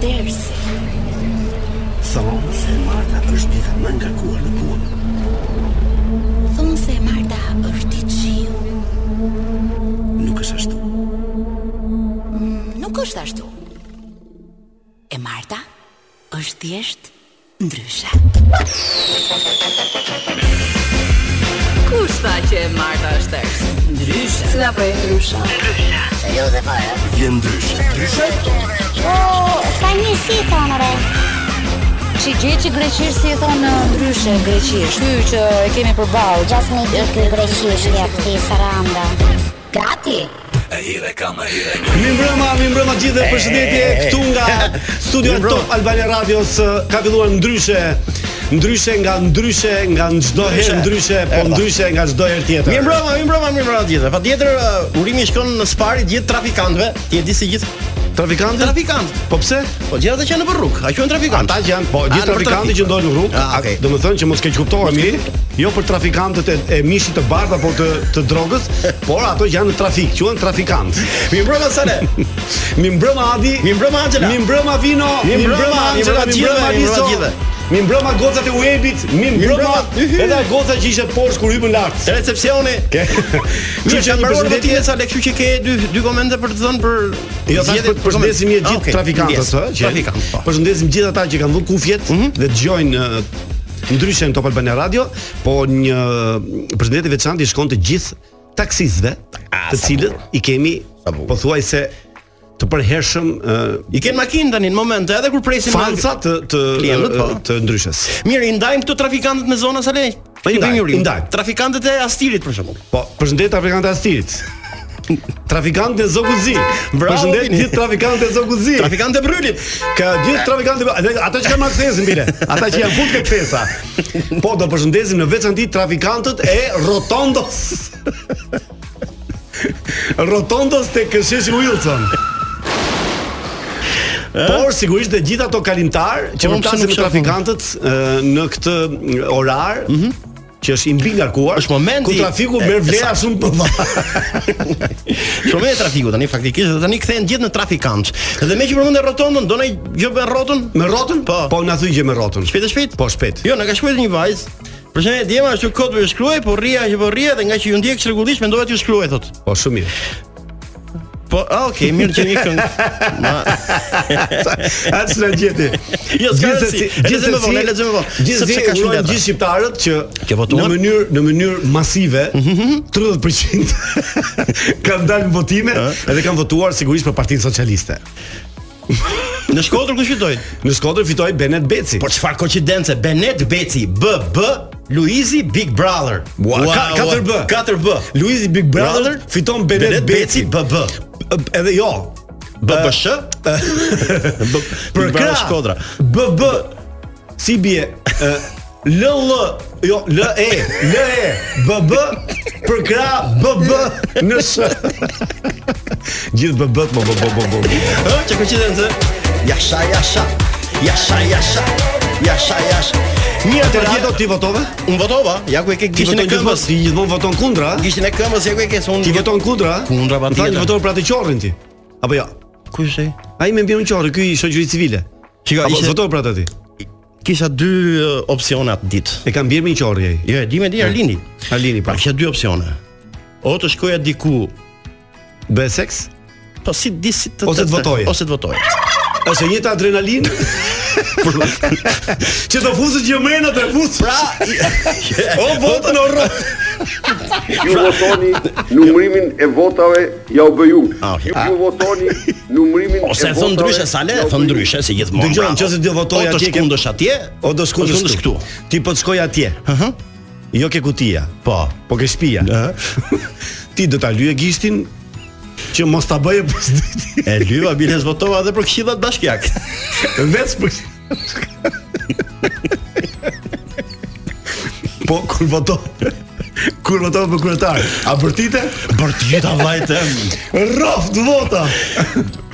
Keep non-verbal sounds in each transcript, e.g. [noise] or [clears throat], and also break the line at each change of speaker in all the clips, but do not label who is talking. dersi.
Thonë se Marta është dita më ngarkuar në punë.
Thonë se Marta është i qiu.
Nuk është ashtu.
Nuk është ashtu. E Marta është thjesht ndryshe.
Kush tha që e Marta është tërës? Ndryshe. Si po e ndryshe?
Je ndryshe. Ndryshe?
Ska një si thonë re
Që gjë që greqisht si e thonë ndryshe greqisht. Ky që e kemi përballë.
Gjas me dikë greqishtja këti saranda Gati
Mi mbrëma, mi mbrëma gjithë dhe përshëndetje këtu nga
[laughs]
studio Top Albania Radios ë, ka filluar ndryshe ndryshe nga ndryshe nga çdo herë ndryshe, po ndryshe nga çdo herë tjetër.
Mirë mbrëma, mirë mbrëma, mirë mbrëma tjetër. Patjetër uh, urimi shkon në sparit gjithë trafikantëve, ti e di si gjithë
Trafikantët?
trafikantë.
Po pse?
Po gjithë ata që janë në rrugë, a quhen trafikantë?
Ata që janë, po
A, Ah,
gjithë
në për
trafikantët
trafik.
që ndodhin në rrugë,
Ah, okay.
do të thënë që mos keq kuptohem mirë, jo për trafikantët e, e mishit të bardh apo të të
[laughs]
drogës, por ato që janë në trafik, quhen trafikantë.
Mirë mbrëma Sale.
Mi mbrëma Adi.
Mirë mbrëma Angela.
Mi mbrëma Vino.
Mi mbrëma, mi mbrëma
Angela,
gjithëve, mi
mi mbrëma
mbrëma
Aliso.
gjithëve.
Mi mbrëma gocat e Webit, mi mbrëma
mbrëma- Yhy.
edhe ajo goca që ishte poshtë kur hypën lart.
Recepsioni.
Ke.
Mirë, që
një
mbaruar
përshëndetje.
votimin Sale, kështu që ke dy dy komente për të thënë për
Jo, tash për përshëndesim mirë gjithë trafikantët, ëh,
që trafikant. po. Mhm.
Përshëndesim gjithë ata që kanë vënë kufjet dhe dëgjojnë ë, ndryshe në Top Albania Radio, po një përshëndetje veçantë i shkon të gjithë taksistëve, të
sa
cilët i kemi
Sa bukur.
pothuajse të përhershëm ë,
I kanë makinë tani në moment, edhe kur presin
fanca të të
Klientët, po.
të ndryshës.
Mirë, i ndajmë këto trafikantët me zona Sale.
Po, i ndajmë,
Jurim.
i ndajmë.
Trafikantët e Astirit për shembull.
Po, përshëndet trafikantët e Astirit. Trafikantët e Zoguzi.
Bravo,
Përshëndet
Vini.
gjithë trafikantët e Zoguzi.
Trafikantët e Brylit.
Ka gjithë trafikantët, dhe ata që kanë marrë kthesën bile, ata që janë fut këtë kthesa. Po do përshëndesim në veçanti trafikantët e Rotondos. Rotondos te Kësheshi Wilson. Por sigurisht dhe gjithë ato kalimtar që
Po, pse nuk
përplasin me
shohim?
trafikantët ë, në këtë mm, orar,
Mhm.
që është i mbi ngarkuar,
Është momenti-
ku trafiku merr
e,
vlera shumë të mëdha.
Shumë e trafiku tani faktikisht dhe tani kthehen gjithë në trafikant. Dhe me që përmendën rrotondën, do ndonjë gjë [laughs] me rrotën?
Me rrotën?
Po.
Po na thuaj gjë me rrotën.
Shpejt e shpejt?
Po shpejt.
Jo, na ka shkruar një vajzë. Për shembull, djema ashtu kod për shkruaj, po rria që po rria dhe nga që ju ndjek rregullisht mendova ti shkruaj thot.
Po shumë mirë.
[laughs] Po, ah, okay, mirë që një këngë. [laughs]
Atë s'na gjeti.
Jo, s'ka rëndsi. E lexojmë vonë, e lexojmë vonë.
Gjithsesi
Sepse ka shumë
urojmë
letra.
gjithë shqiptarët që
Ke votuar?
në mënyrë në mënyrë masive
Mhm,
30% [laughs] kanë dalë në votime edhe kanë votuar sigurisht për Partinë Socialiste.
Në Shkodër ku fitoi?
Në Shkodër fitoi Benet Beci.
Po çfarë koincidence, Benet Beci, BB Luizi Big Brother.
Ua, ka- 4B.
4B.
Luizi Big Brother
Brother,
fiton Benet
Benet
Beci.
Beci BB.
Edhe jo,
BBSH.
Për
Për
krah
Shkodra.
BB si bie ë, LL jo L E L E BB për krah BB në sh. Gjithë BB të mo bo bo bo bo.
Ë, çka koincidence? Jasha, jasha. Jasha, jasha. Jasha, jasha. Mirë,
Atë
atëherë
do ti votove?
Unë votova, ja ku e ke
Ti
gishtin e
voton
këmbës.
gjithmonë, ti gjithmonë voton kundra? a?
Gishtin e këmbës, ja ku e ke se unë.
Ti voton kundra? a?
Kundra,
Më
patjetër.
thanë që voton për atë qorrin ti. Apo jo?
ku ishte? ai?
Ai më mbion qorri, ky i shoqëri civile.
Shiko,
Apo
ishte-
voton për atë ti.
Kisha dy uh, opsione atë ditë.
E kanë bjerë me një qorri ai.
Jo, e di me di Arlini.
Alini
Pra
pra.
kisha dy opsione. O të shkoja diku,
Bëhet seks?
po si di si të
Ose të votoje.
Ose të [laughs] votoje.
Është e njëjta adrenalinë? që do fuset që mrena të fus. Pra, o votën o rrot.
Ju votoni numrimin e votave ja u bëj unë.
Ah, okej.
Ju votoni numrimin e
Ose e thon
votave.
ndryshe sale,
ja u bëj
thon
unë.
ndryshe si gjithmonë.
Dëgjoj,
bravo.
nëse do votoje
O të
atje, ke-
shkundesh atje,
O do shkundesh
shkundesh këtu.
Ti po të shkoj atje.
Aha.
Jo ke kutia,
Po.
po ke shtëpia. [laughs] Ti do ta lyje gishtin që mos ta bëje pas [laughs] ditës.
E lyva biles votova edhe për këshillat
[laughs]
bashkiak.
Vetë për [laughs] Po kur voton kur voton për kryetar, a bërtite? [laughs]
Për të gjitha vllajtë.
Rroft vota.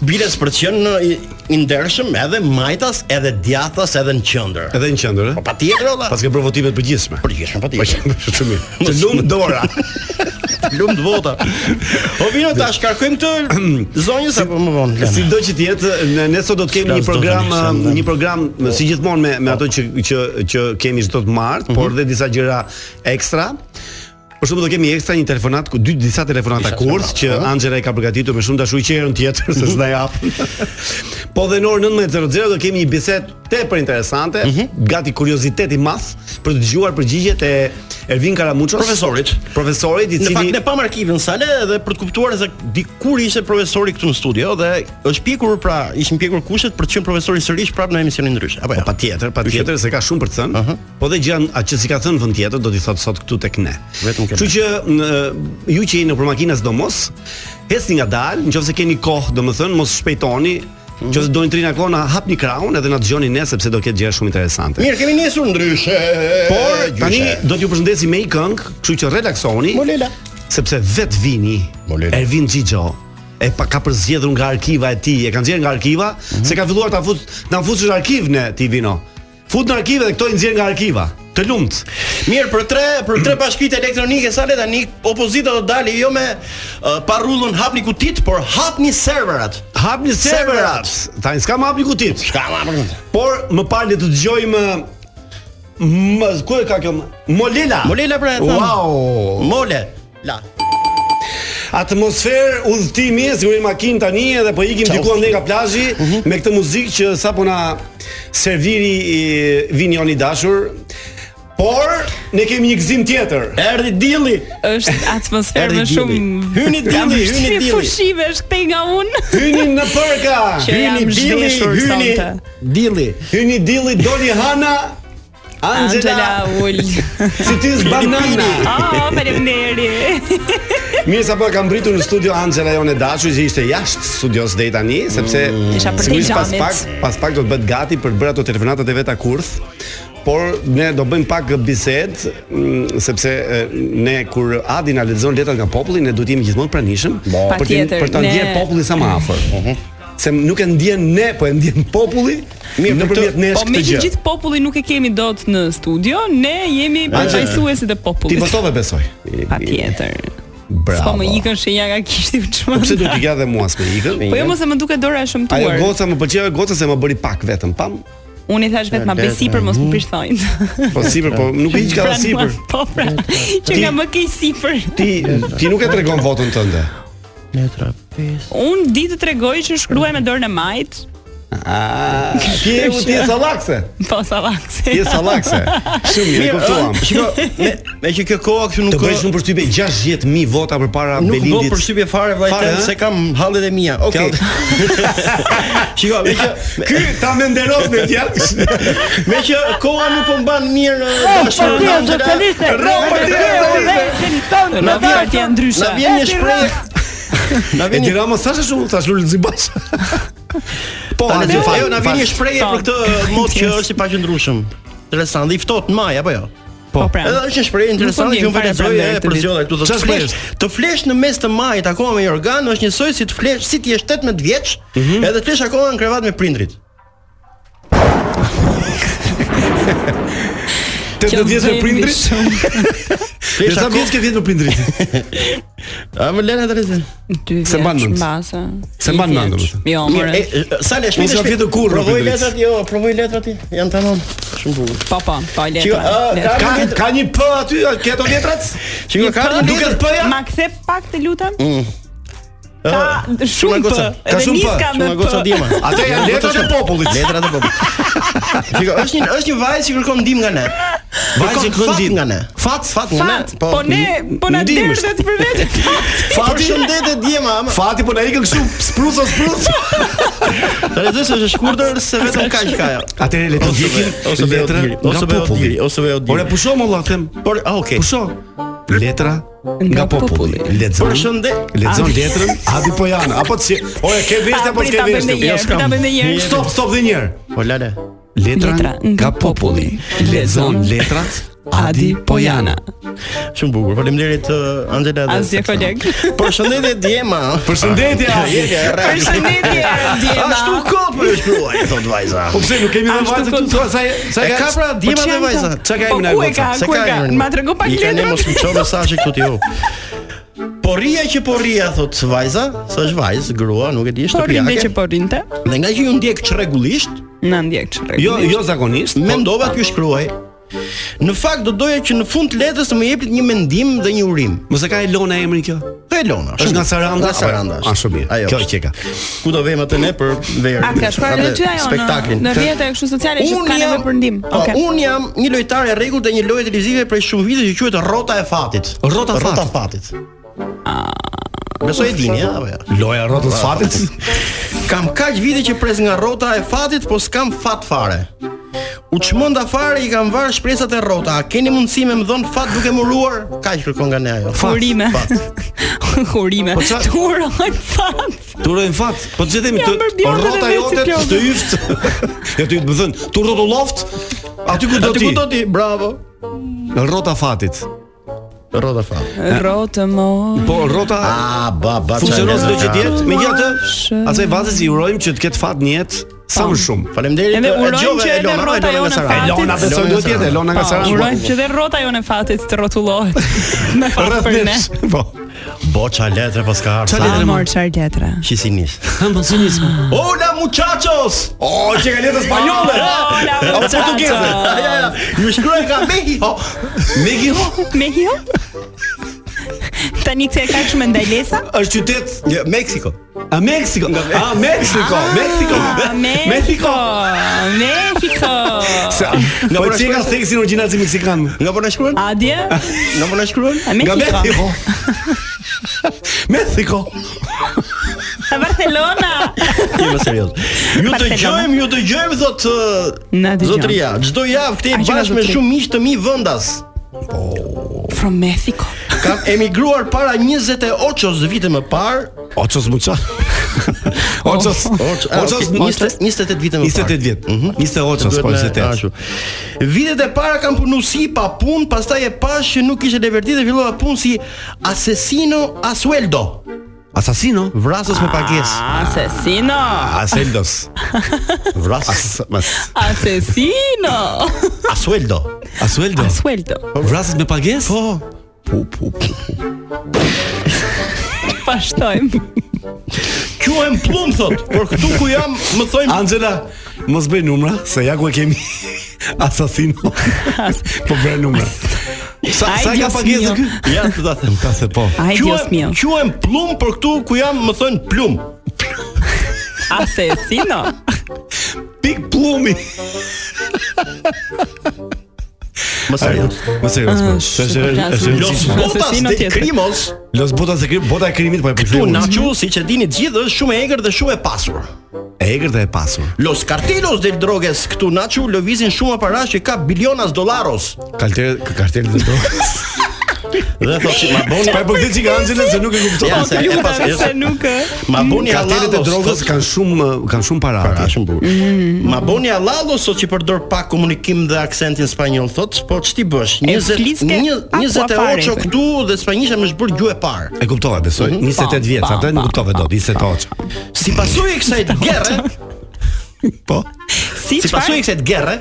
Biles për të qenë në- i- i ndershëm edhe majtas, edhe djathtas, edhe në qendër.
Edhe në qendër,
Po patjetër olla.
Pas ke bërë votimet përgjithshme.
Përgjithshme patjetër. [laughs]
Po shumë mirë. Të lum dora.
Lum të vota. O Po vino tash karkojmë këtë zonjës apo më vonë? Lena?
Sido që të jetë, ne, ne sot do të kemi
S'ka
një
s'do të
program,
nisem,
ë,
ne.
një program ë, si gjithmonë me me ato që që që kemi çdo të martë,
Mhm.
por dhe disa gjëra ekstra. Për shembull do kemi ekstra një telefonat ku dy disa telefonata
Disa
kurs
telefonata,
që
po.
Anxhela e ka përgatitur me shumë dashuri qerën tjetër se s'na
[laughs]
jap. po dhe në orën 19:00 do kemi një bisedë tepër interesante,
Mhm.
gati kuriozitet i madh për të dëgjuar përgjigjet e Ervin Karamuços,
Profesorit.
profesorit i
Në fakt
cili
ne pam arkivin sa le edhe për të kuptuar se dikur ishte profesori këtu në studio dhe është pjekur pra ishin pjekur kushtet për të qenë profesori sërish prapë në emisionin ndryshe. Apo jo?
Patjetër, patjetër se ka shumë për të thënë.
Aha.
Po dhe gjën atë që si ka thënë vend tjetër do t'i thot sot këtu tek ne.
Vetëm kjo.
Kështu që në, ju që jeni nëpër makina sidomos, hesni ngadalë, nëse keni kohë, domethënë mos shpejtoni.
Mhm.
Nëse doni trina kona, hapni kraun edhe na dëgjoni ne sepse do ketë gjëra shumë interesante.
Mirë, kemi nisur ndryshe.
Por
gjyshe.
tani do t'ju përshëndesim me një këngë, kështu që relaksoni.
Molela.
Sepse vet vini.
Molela.
Ervin Xhixho e pa ka përzgjedhur nga arkiva e tij, e ka nxjerrë nga arkiva,
Mhm.
se ka filluar ta fut, na futesh në arkiv ne ti vino. Fut në arkive dhe këto i nxjerr nga arkiva. Të lumt.
Mirë, për tre, për tre bashkitë elektronike sa le tani opozita do dalë jo me uh, parrullun hapni kutit, por hapni serverat.
Hapni serverat. Tani s'kam hapni kutit.
Çka ma për këtë?
Por më parë le të dëgjojmë më ku e ka kjo? Molela.
Molela pra e thënë.
Wow.
Mole. La.
Atmosferë udhëtimi, siguri makin tani edhe po ikim diku ande nga plazhi me këtë muzikë që sapo na serviri i Vinioni i dashur. Por ne kemi një gëzim tjetër.
Erdi dilli.
është atmosferë
Erdi
më
dilli.
shumë
Hyni
Jam
dilli, hyni
shumë
dilli.
Fushime është këtej nga unë.
Hyni në përka.
[laughs] Që jam
Hyni dilli,
zhdeshur
hyni
sonte.
dilli.
Hyni dilli doli Hana.
Angela
Angela,
[laughs] ul.
si ti zbanana.
Oh, faleminderit.
Mirë sa po e kam mbritur në studio Angela jonë e dashur që ishte jashtë studios deri tani sepse
Isha për
sigurisht pas
t'i
pak
xhamit.
pas pak do të bëhet gati për të bërë ato telefonatat e veta kurth. Por ne do bëjmë pak bisedë mm, sepse e, ne kur Adi na lexon letrat nga populli ne duhet jemi gjithmonë pranishëm për të
Patjetër,
për ta
ne-
ndjerë popullin sa më afër.
Mhm.
Se nuk e ndjen ne, po e ndjen populli mirë nëpërmjet nesh
Po me
këtë
që
gjë.
gjithë populli nuk e kemi dot në studio, ne jemi
Angela.
përfaqësuesit e
Ti
popullit.
votove besoj.
Patjetër. Sa
Bravo.
më ikën shenja nga kishti
Po
u
Pse
çmend.
duhet i gja dhe mua s'me ikën?
Po jo mos e më duket dora e
Ajo
shëmtuar.
goca më pëlqeu ajo goca se më bëri pak vetëm, pam.
Unë i thash vetëm ma bëj sipër mos më prish thonjt.
Po sipër, po nuk i Mhm. ka
Pra,
sipër.
mua- Po pra, që
Ti-
nga më ke sipër.
Ti ti nuk e tregon votën tënde.
Unë di të tregoj që shkruaj me dorën e majt,
Ah, ti je ti je sallakse.
po sallakse.
Ti je sallakse. Shumë mirë, po- e kuptuam.
[laughs] Shiko, me, me që kjo koha këtu nuk
Të bësh shumë përshtypje 60000 vota përpara
Nuk do
Belindit.
përshtypje fare
Fare,
vllajtë
ha?
se kam hallet e mia. Okej. [laughs] Shiko, me që
Ky ta menderos me fjalë.
me që koha nuk po mban mirë eh, dashur
Po,
Angela,
socialiste.
Rroba ti tani.
Na vjen ti ndryshe.
Na vjen një shpreh. [laughs] Na
[laughs] E
vjen një
dira mos thash ashtu, thash lul zibash. Po,
Tani
atë
do
fal.
ajo na vjen një shprehje
Po.
për këtë mod që është i paqëndrueshëm. Interesant, i ftohtë në maj apo jo?
Po pra.
Edhe është një shprehje interesante
ndjen
që unë po
fare
lexoj
brenda
e
këtë
përzgjodha këtu të
Çfarë
flesh. Të flesh në mes të majit akoma me organ është njësoj si të flesh si ti je 18 vjeç, edhe të flesh akoma në krevat me prindrit.
Të
Që
do vjes me
vendi
prindrit.
shumë.
Dhe
Flesh
sa
akoma.
vjes ke vjet me prindrit?
A më lëna tani.
Dy
Se
vjeç
mban mend.
mbase.
Se
Një
mban mend,
vjeç.
domethënë.
Jo,
Mirë,
more.
e, e, sa le
Mos
shpejt.
ka
shpejt.
vjetë kurrë,
Provoj
prindrit.
letrat, jo, provoj letrat ti. Jan tamam. Shumë bukur.
Po po, po
Shiko,
letra.
a,
letra.
Ka ka një p aty, a ke ato letrat?
Shikoj ka një
Duket Mm.
duket
p-ja?
Ma kthe pak të lutem. Ka
shumë
shumë p.
goca,
ka
Edhe
shumë p,
niska me
Shumë
p.
goca
[laughs]
dima.
Ato janë letrat e popullit.
Letrat e
[laughs]
popullit. Shiko, është një është një vajzë që kërkon ndihmë nga ne.
Vajzë që kërkon
fat
ndihmë.
nga ne. Fat, fat nga ne.
Fat, po ne po na
ndim
derdhet
është.
të për vetë.
Fati shëndet e djema. ama-
Fati po na ikën kështu spruca
[laughs]
spruca.
Ta lexoj se është e shkurtër se vetëm kaq ka ajo.
Atëherë le të ndjekim
ose be
letra
Odiri,
nga
ose be
populli.
Odiri, ose be Odiri.
Ora po- pusho molla them.
Por, ah, okay.
Pusho. Po Letra nga populli. Lexon.
Përshëndet.
Lexon letrën. Adi po janë. Apo ti ora ke vesh apo
prit
s'ke Jo,
ta
vesh?
bëjmë një herë, prit ta bëjmë një herë.
Stop, stop dhe një herë.
Po lale.
Letra
Letra nga
nga populli. Lexon letrat
Adi Pojana.
Shumë bukur. Faleminderit uh, Angela dhe.
Asnjë
Saksana.
koleg.
[laughs] Përshëndetje Djema.
Përshëndetje.
Përshëndetje Diana.
Ashtu kopër është gruaja, thot vajza.
Po pse nuk kemi
Ashtu
dhënë vajzën
kot-
këtu? Sa sa
E ka pra Djema
çfarë
dhe
ka?
vajza.
Çka ka
Po,
emri
ku e
ai?
ka? ku e ka?
emrin?
Ma tregu pak
I ka ne
letrat.
mos më çon mesazhe këtu ti u. Porria që porria thot vajza, sa është vajz, grua, nuk e di,
Po rinde që
shtëpiake.
po rinte,
Dhe nga që ju ndjek çrregullisht,
na ndjek çrregu.
Jo, jo zakonisht.
mendova t'ju shkruaj. Në fakt do doja që në fund të letrës të më jepit një mendim dhe një urim.
Mos e ka Elona emrin kjo?
Ka Elona,
Është nga Saranda?
Nga Saranda. Ah,
A, shumë mirë. Kjo që e ka.
Ku do vëmë atë ne për verën?
A ka shkuar edhe ty ajo në
spektaklin?
në rrjetet e kështu sociale që
Unë
kanë
jam-
me përndim.
Po, unë jam një lojtar e rregullt dhe një lojë televizive prej shumë vitesh që quhet Rrota e Fatit.
Rrota e
Rrota e Fatit. Besoj e dini, ja, apo jo?
Loja e rrotës fatit.
Kam kaq vite që pres nga rrota e fatit, po s'kam fat fare. U çmenda fare i kam varë shpresat e rrota. A keni mundësi me më dhën fat duke muruar? Kaq kërkon nga ne ajo. Fat,
Urime. [laughs]
Fat.
Urime.
Po ça-
Turoj fat.
Turojnë fat. Po ç'e themi
Jam
të
bërë
rrota
bjondë
jote
dhe biciklotë.
të yft. [laughs] Ja ty të më thën, tu rrotulloft. Aty ku do
Aty
ti?
ku do ti? Bravo.
Në rrota fatit.
Rrota e fatit.
Rotë mo.
Po rrota
A ba ba.
funksionon çdo që diet. Megjithatë,
Ua,
asaj vajzës i urojmë që të ketë fat në jetë sa më shumë.
Faleminderit.
Edhe
e
urojmë
dëgjove,
që edhe
Elona,
rrota
Elona
jone
nga Saranda.
Elona
fatit.
besoj
Elona
duhet
nga
jetë
Saranda.
Elona nga Saranda.
Urojmë që dhe rrota jone fatit të rrotullohet. Me fat
Rreth
për ne.
nesh. Po.
Boça letre pas ka
Qa po
ardhur.
letre?
A mor çfarë letra?
Qisi nis.
Hola muchachos. Oh, që ka letë spanjolle.
Hola,
Apo
muchacho.
portugeze.
Ja, ja. Ju shkruaj nga Mexico.
Mexico
Me hio? Tani këtë e ka këshme ndaj lesa?
është qytet
Jo, Mexico.
A Meksiko. A Meksiko,
Ah.
Meksiko.
A, Meksiko! Meksiko!
Se-
Nga
Po
po na
ti ka
shkruan-
theksin origjinal si meksikan.
Nga po na shkruan?
Adje?
Nga po na shkruan?
A
Nga
Meksiko!
Meksiko. Meksiko.
A Barcelona!
Jo, më serioz. Ju
Barcelona.
dëgjojmë, ju dëgjojmë thot
Na
ë,
dëgjojmë.
zotëria. Çdo javë
A,
kthehej
që nga
bashkë me
zotëri?
shumë miq të mi vendas.
From Mexico.
Kam emigruar para 28 vite më parë.
Ochos mucha. Ochos.
Oç- a,
Ochos
ok, 20 28 vite më parë.
28 vjet. 28
Duhet
po
me-
28.
ashtu. Vitet e para kam punu si pa punë, pastaj e pash që nuk ishte leverti dhe fillova punë si asesino a sueldo.
Asasino.
Vrasës me pagesë.
Asesino!
Aseldos.
Vrasës
Mas.
Asesino!
a sueldo.
Asueldo.
Sueldo.
Vrasës me pagesë? Po. Pu pu pu.
Pashtojmë.
Quhem plum thot, por këtu ku jam më thojnë
Angela, mos bëj numra, se ja ku e kemi [laughs] asasino. [laughs] po bëj numra. Sa
Ai
sa ka
Dios
pagesë
mio.
ky?
Ja, të ta them.
Ka se po.
Ai Dios mio.
Quhem, quhem plum, por këtu ku jam më thojnë plum.
Asesino.
Pik plumi.
Më serioz.
Më serios, po. Është është është
Los
rëndësishme.
botas
Asesino
de
tjetër.
crimos,
Los botas e krim, bota e krimit po e
tu
përktheu.
nacho, siç e dini të gjithë, është shumë e egër dhe shumë e pasur.
E egër dhe e pasur.
Los cartelos del drogues këtu nacho lëvizin shumë parash që ka bilionas dollaros.
Kalter kartel dhe do.
Dhe thotë që ma boni
[laughs] Po e përkthej çika Angela se nuk e kupton.
Ja,
Po
se
të
e
lutem
pas-
se nuk ë.
ma boni
Kartelet Mm. e
halallos,
drogës
thotë.
kanë shumë kanë shumë Mm. para.
Para,
atje.
shumë bukur. Ma boni allallo sot që përdor pak komunikim dhe aksentin spanjoll thot, po ç'ti bësh?
fliske
20 një-
aqua
28
fare.
këtu dhe spanjisha më zbër gjuhë e parë.
E kuptova, besoj. 28 vjeç,
pa,
atë
pa,
nuk kuptove dot, 28.
Si pasojë e kësaj gerre,
Po.
Si
si pasojë e
çfarë?
kësaj gerre,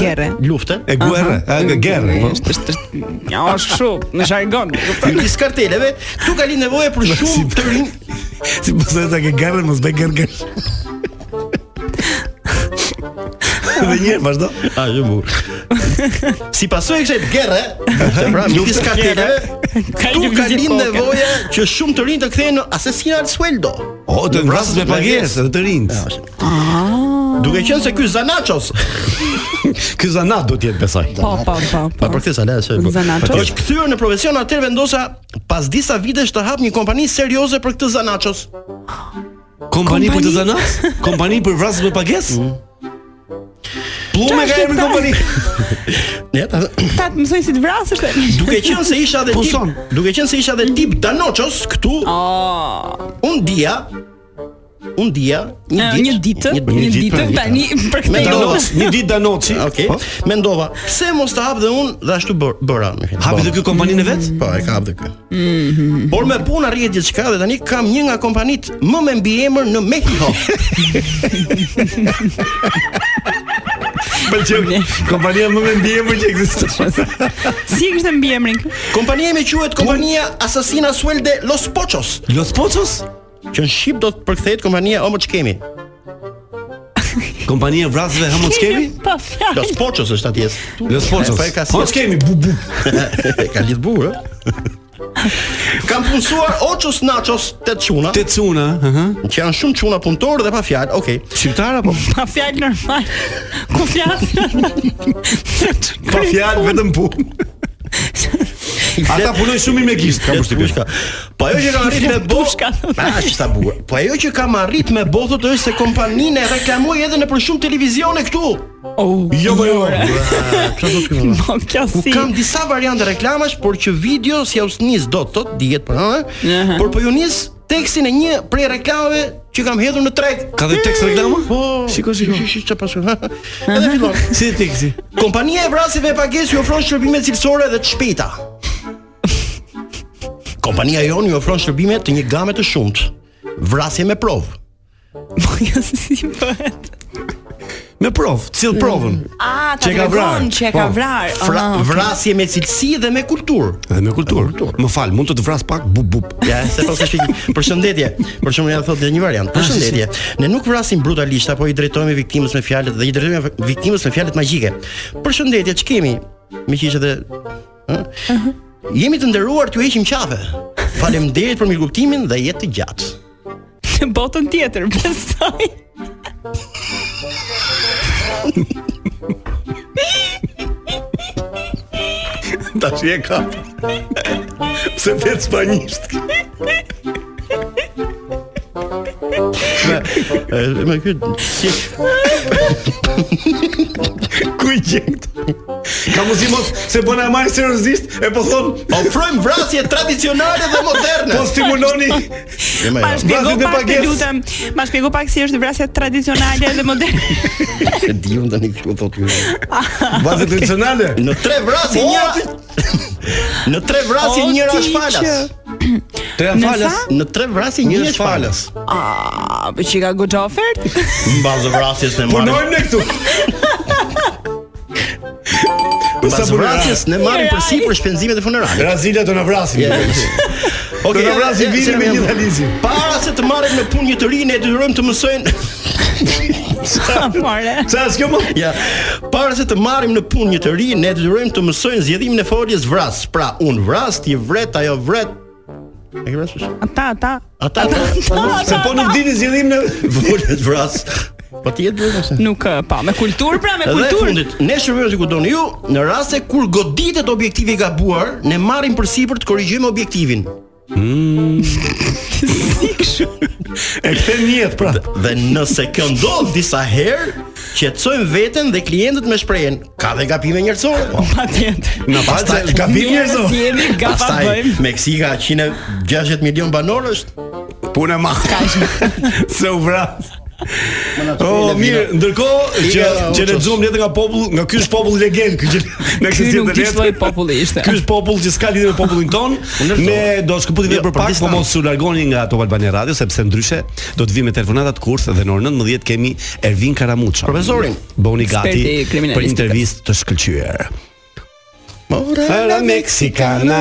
Gerre.
lufte,
E guerre, e guerre. po.
Është është është- ja është kështu, në jargon.
midis karteleve, këtu ka lind nevojë për shumë të rinj.
Si pasoj ta ke garën, mos bëj gërgër. Dhe një herë vazhdo.
A ju bu. Si pasojë e kësaj gerre, lufte, pra midis karteleve,
Ka
këtu ka
lëvizje
lind
kokën.
nevojë që shumë të rinj të kthehen në asesina al sueldo.
O, të vrasës me pagesë, dhe të rinë.
Duke qenë se ky Zanachos
Ky zanat do të jetë besoj.
Po, po, po.
Pa për këtë sa le se.
Zanachos.
Është kthyer në profesion atë vendosa pas disa vitesh të hap një kompani serioze për këtë Zanachos.
Kompani për të
Kompani?
zanat? Kompani për vrasës me pagesë?
Mm.
Plume ka emri kompani.
[laughs] Ja, ta-
Ta të mësojnë si të vrasësh. [laughs]
duke qenë se isha edhe tip,
Puson.
duke qenë se isha edhe tip Danochos këtu,
Oh,
un dia un dia Ah, një ditë,
Një ditë, një ditë tani për këtë
Me
do.
dorë.
Një ditë Po. danoçi.
[laughs] Okej. Mendova, pse mos ta hap dhe un dhe ashtu bër- bëra. më thënë.
Hapi dhe ky kompaninë e vet?
Po, e ka hap
[laughs]
dhe ky. Por me punë arrihet gjithçka dhe tani kam një nga kompanitë më me mbiemër në [laughs] Mexico.
Pëlqen. Kompania më me ndihmë që ekziston.
Si e kishte mbiemrin kë?
Kompania ime quhet Kompania Asasina Suelde Los Pochos,
[laughs] Los Pochos?
që në shqip do të përkthehet kompania Omo Çkemi.
Kompania e vrasëve Hamot Skemi?
Po fjalë.
Los Pochos është atje.
Los Pochos.
Po e ka si-
Hamot Skemi bu
[laughs]
bu.
ka lidh bukur, ë? Kam punësuar Ochos Nachos te çuna,
Te cuna, ëh.
që janë shumë çuna punëtor dhe pa fjalë. Okej.
Shqiptar
po.
[laughs] apo?
Pa fjalë normal. Ku flas?
[laughs]
Pa fjalë vetëm pu. Ata punojnë shumë mirë me gisht, kam përshtypjen.
Pushka. Po ajo që kam arrit me
Pushka,
botë,
thotë.
ah, që sa bukur. Po ajo që kam arrit me botët është se kompaninë e reklamoi edhe në për shumë televizione këtu.
Oh, [laughs]
Jo, po jo. [laughs]
Çfarë do të thonë?
Po kjo
Ku
si.
kam disa variante reklamash, por që video si aus nis do të thotë dihet për ëh,
Aha.
por po ju nis tekstin e një prej reklamave që kam hedhur në treg.
Ka dhe tekst reklama?
Po.
Shiko, shiko.
Shi, shi, çfarë pasu. Edhe fillon.
Si teksti?
Kompania e vrasjeve e pagesë ju ofron shërbime cilësore dhe të shpejta. Kompania jonë ju ofron shërbime të një game të shumtë. Vrasje me provë.
Po kjo si bëhet?
Me provë, cill provën.
Ah, ta
Që e ka
tregon
vrarë.
Që e ka
Po.
vrar.
Fra, vrasje me cilësi dhe me kulturë.
Dhe me kulturë. Më fal, mund të të vras pak bu bu.
Ja, se pas e shpjegoj. Përshëndetje. Për shembull, ja thotë një variant.
Ah,
Përshëndetje. Ne nuk vrasim brutalisht, apo i drejtohemi viktimës me fjalët dhe i drejtohemi viktimës me fjalët magjike. Përshëndetje, ç'kemi? Me që ishte edhe ë?
Uh-huh.
Jemi të nderuar t'ju heqim qafe. Faleminderit për mirëkuptimin dhe jetë të gjatë.
Në [laughs] botën tjetër, besoj.
Tash je kap. Pse flet [laughs] spanjisht?
Ë, Me ky si
Ku i gjen këtë? Ka mundsi mos se bën e marr seriozisht e po thon,
ofrojmë vrasje tradicionale dhe moderne.
po [laughs] stimuloni.
Jema, jema.
Ma shpjego
Vrasit me
pak të
pagesë.
lutem. Ma shpjego pak si është vrasja tradicionale dhe moderne.
[laughs]
E di unë tani kështu po thotë ju.
Bazë tradicionale.
Në tre vrasje
O,
njëra. [laughs] Në tre vrasje
O,
njëra
Po, ti
është falas.
që-
Tre
Në
falas.
sa?
Në tre vrasje Ah? një
Një
është falas.
falas.
Ah, po çka goxha
[laughs]
[laughs] ofertë?
Në bazë vrasjes ne marrim.
Punojmë Po ne [laughs] këtu.
Në bazë vrasjes
vrasjes
ne marrim përsi për shpenzimet e funerale.
Brazilia do na vrasin. Do na vrasin virin me një talizin.
Para se të marrim në punë një të ri, ne detyrojmë të mësojnë.
Sa fare.
Sa s'kjo më?
ja. Para se të marrim në punë një të ri, ne detyrojmë të mësojnë zgjedhimin e foljes vras. Pra, un vras, ti vret, ajo vret. E ke vrasësh?
Ata, ata.
Ata
Se po nuk dini zgjedhim në
foljes vras. Po ti jetë duhet ose?
Nuk ë, pa, me kulturë pra, me
Edhe e
kulturë.
fundit, ne shërbejmë si ku doni ju, në rast se kur goditet objektivi i gabuar, ne marrim përsipër të korrigjojmë objektivin.
e kthen në jetë pra.
Dhe nëse kjo ndodh disa herë, qetësojmë veten dhe klientët me shprehen, ka dhe gabime njerëzore. Po.
Patjetër.
Na fal se gabim njerëzo.
Si jemi gapa
Pastaj
bëjmë.
Meksika 160 milion banor është.
Punë ma. [laughs] Se u vras. Oh, mirë, ndërkohë që
Iga,
që
Uchos.
lexuam letër nga popull, nga ky është popull legend, ky që
[laughs]
nga këtë
Ky nuk
zgjedhje
di
letër.
ç'lloj populli ishte.
Ky është popull që s'ka lidhje me popullin ton.
ndërtoj.
Ne do shkëputim
Jo,
vetë për
për
pak, po
distancë.
mos u largoni nga Top Albania Radio sepse ndryshe do të vi me telefonatat kurs dhe në orën 19 kemi Ervin Karamuça.
Profesorin.
Boni gati
Eksperti
për
kriminalistikës.
intervistë të shkëlqyer.
Ora
meksikana.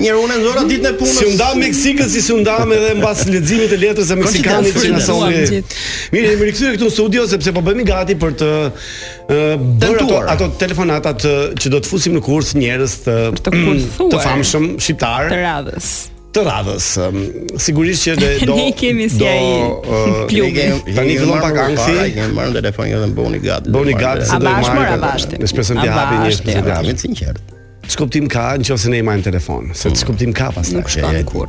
Njëri unë e nxora ditën e punës.
Si u nda Meksikën si si u ndam edhe mbas leximit të letrës së meksikanit që na
Konsiderat
solli.
frymë. Gjithë.
Mirë, jemi rikthyer këtu në studio sepse po bëhemi gati për të uh, bërë ato,
Tentuar.
ato telefonatat ë, që do të fusim në kurs njerëz të
Të kurthuar.
të famshëm shqiptar
Të radhës.
të radhës. Ëm, Sigurisht që
[laughs]
ne do
Ne kemi si
do,
ai
ë,
plugi.
Tani fillon pak ankthi.
Ne marrëm telefonin edhe bëuni jo, gati.
Bëni gati se
A
do i
bashkë,
marrë.
mora, bashkë.
Ne shpresojmë të
A
hapi një
bashkë,
shpresë të
ja.
hapi.
Me sinqert.
Skuptim ka nëse ne i marrim telefon, se skuptim ka pastaj.
Hmm. Nuk shkon
E, e,
kur.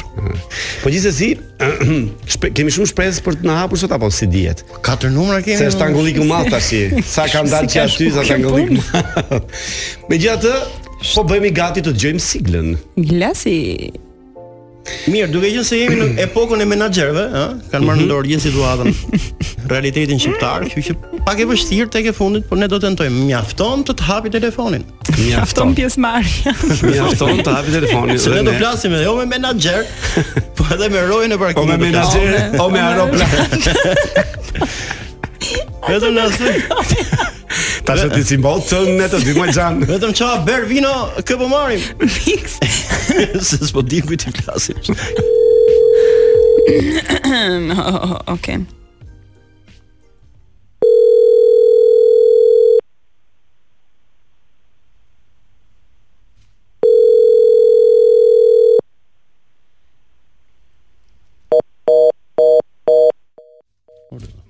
Po gjithsesi, [clears throat] shpe- kemi shumë shpresë për të na hapur sot apo si dihet.
Katër numra kemi.
Se është angullik i madh tash. Sa ka ndalë
[laughs] Si
që
ka
aty sa ka
shku kjo
angullik. i
punë?
madh. [laughs] Megjithatë, po bëhemi gati të dëgjojmë siglën.
Glasi.
Mirë, duke qenë se jemi në epokën e menaxherëve, ë, kanë marrë në dorë gjithë situatën. [laughs] Realitetin shqiptar, kështu që pak e vështirë tek e fundit, por ne do tentojmë. Mjafton të të hapi telefonin.
Mjafton pjesëmarrja.
Mjafton të hapi telefonin.
Se ne do flasim edhe jo me
[laughs]
menaxher, po edhe me rojën e parkimit.
Po me menaxher, o me aeroplan.
Vetëm na thënë.
Tash ti si mbot të ne të dy malxhan.
Vetëm çao ber vino kë po marrim.
[laughs] Fix.
[laughs] Se s'po di kujt i flasim.
Okej.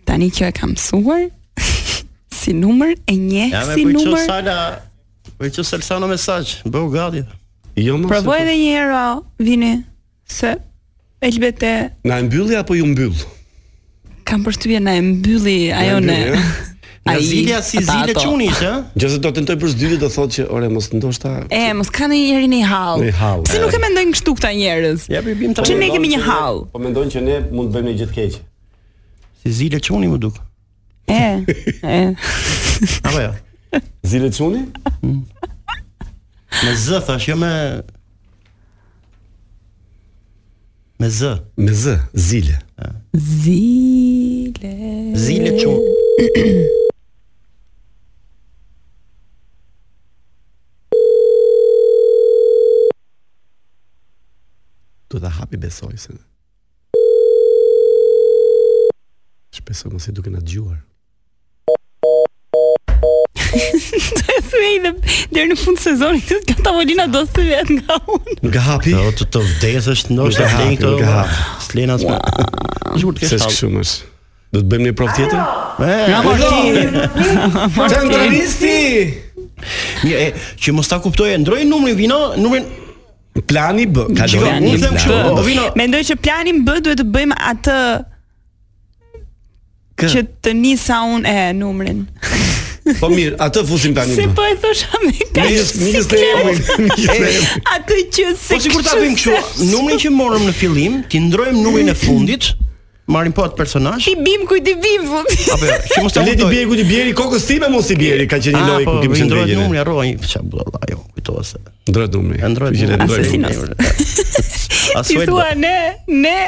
Tani kjo e kam mësuar [laughs] si numër e njeh
Ja me
si
po i çu
numër.
sala, po i çu salsano mesazh, bëu gati.
Jo më.
Provoj edhe një herë o, vini se Elbete
Na e mbylli apo ju mbyll?
kam përshtypjen na e mbylli ajo ne. [laughs]
mbylli,
Ai
Ai
jo? Zilja si
ata
Zile
ato.
Çunish, ë?
Nëse do tentoj për së dyti do thotë që ore mos ndoshta
E, mos ka ndonjëri një hall.
Një hall,
Pse
e.
nuk e mendojnë kështu këta njerëz?
Ja i bim ta.
Që ne kemi një hall.
Po mendojnë që ne mund të bëjmë një gjë të keqe.
Si Zile Çuni më duk.
[laughs] E, e.
Apo jo.
Zile Çuni?
Me z thash, jo me me z.
Me z, Zile.
Zile.
Zile Çuni.
Do ta hapi besoj se. Shpresoj mos e duke na dëgjuar.
Thuaj dhe deri në fund të sezonit kjo tavolina do thyet nga unë.
Nga hapi?
Jo, të të vdesësh ndoshta
Nuk e
flen
hapi,
këto.
nuk e hapi.
Slena s'ma. Zhurt ke
Se
shkallë.
kështu mësh. Do të bëjmë një provë tjetër?
E,
Centralisti.
Mirë, e, që mos ta kuptoj, e ndroj numrin vino, numrin po,
Plani B,
Shiko,
kalon
unë
një
them kështu,
plan.
o vino.
Mendoj që planin B duhet të bëjmë atë që të nisa unë e numrin.
Po mirë, atë fusim tani.
Se po e thosha me kaq.
Mikës, mikës
siklet.
të jemi,
[laughs]
mikës të jemi.
Atë që se
Po sikur ta bëjmë kështu, numrin që morëm në fillim, ti ndrojmë numrin e fundit, marrim po atë personazh.
Ti bim kujt i bim po. fut.
Apo jo, që mos ta
Le ti
kuptoj.
bjeri ku ti bjeri kokës time mos i bjeri, ka qenë një
Ah,
lojë
po,
ku kemi
i
qenë
ndrohet
drejtë.
numri, arroj, ç'a budalla, jo, kujtova se.
Ndrohet numri.
E ndrohet
Kështu që
numri.
ndrohet numri.
Asesinos.
As [laughs]
Ti
well.
thua ne, ne.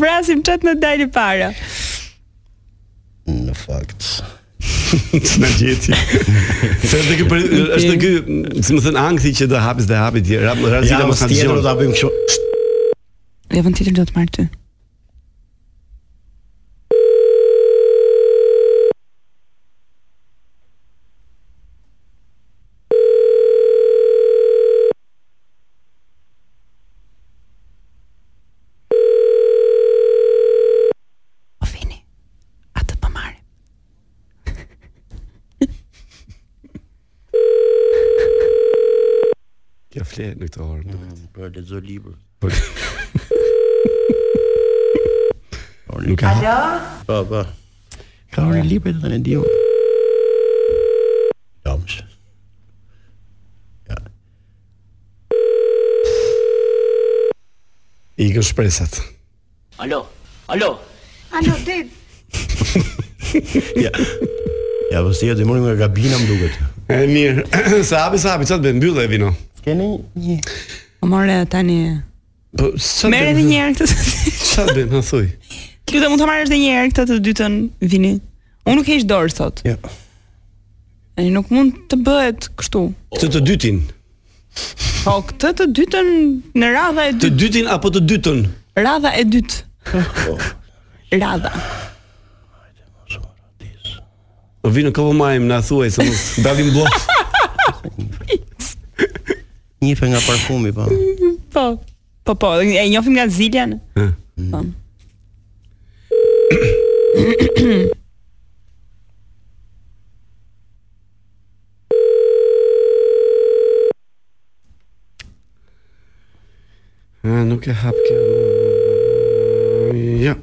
Vrasim çat në dalë para.
Në fakt.
Na gjeti. Se është ky për- është ky, si më thën ankthi që do hapis dhe hapi ti. Razila
Pra, Ja,
mos
mos
na
tjetër do
dëgjon.
ta bëjmë kështu.
Levën tjetër do të marr ty. O Po vini, atë pa marrim.
Kjo fle në këtë orë. duket.
Po lexo libër. [laughs]
Nuk ka.
Po, po. Ka orë libër tani diu. Jamsh.
I ikën shpresat.
Alo, dit.
Ja. Ja, po si e dimoni nga gabina më duket.
E mirë, [clears throat] se hapi sa hapi, çat bën mbyllë e vino.
Keni një
O more tani.
Po çat
Merë edhe një herë këtë.
Çat bën, ha thuj.
Lutem mund ta marrësh edhe një herë këtë të dytën vini. Unë nuk heq dorë sot.
Jo.
E nuk mund të bëhet kështu.
Këtë të dytin.
Po këtë të dytën në radha e
Të
dytë,
dytin apo të dytën?
radha e dytë. Radha.
O vino ka po marrim na thuaj se mos dalim bllof.
njife nga parfumi po.
Po. Po po, e njohim nga Zilian. Po.
Mm.
Ah, nuk e hap kjo. Ja.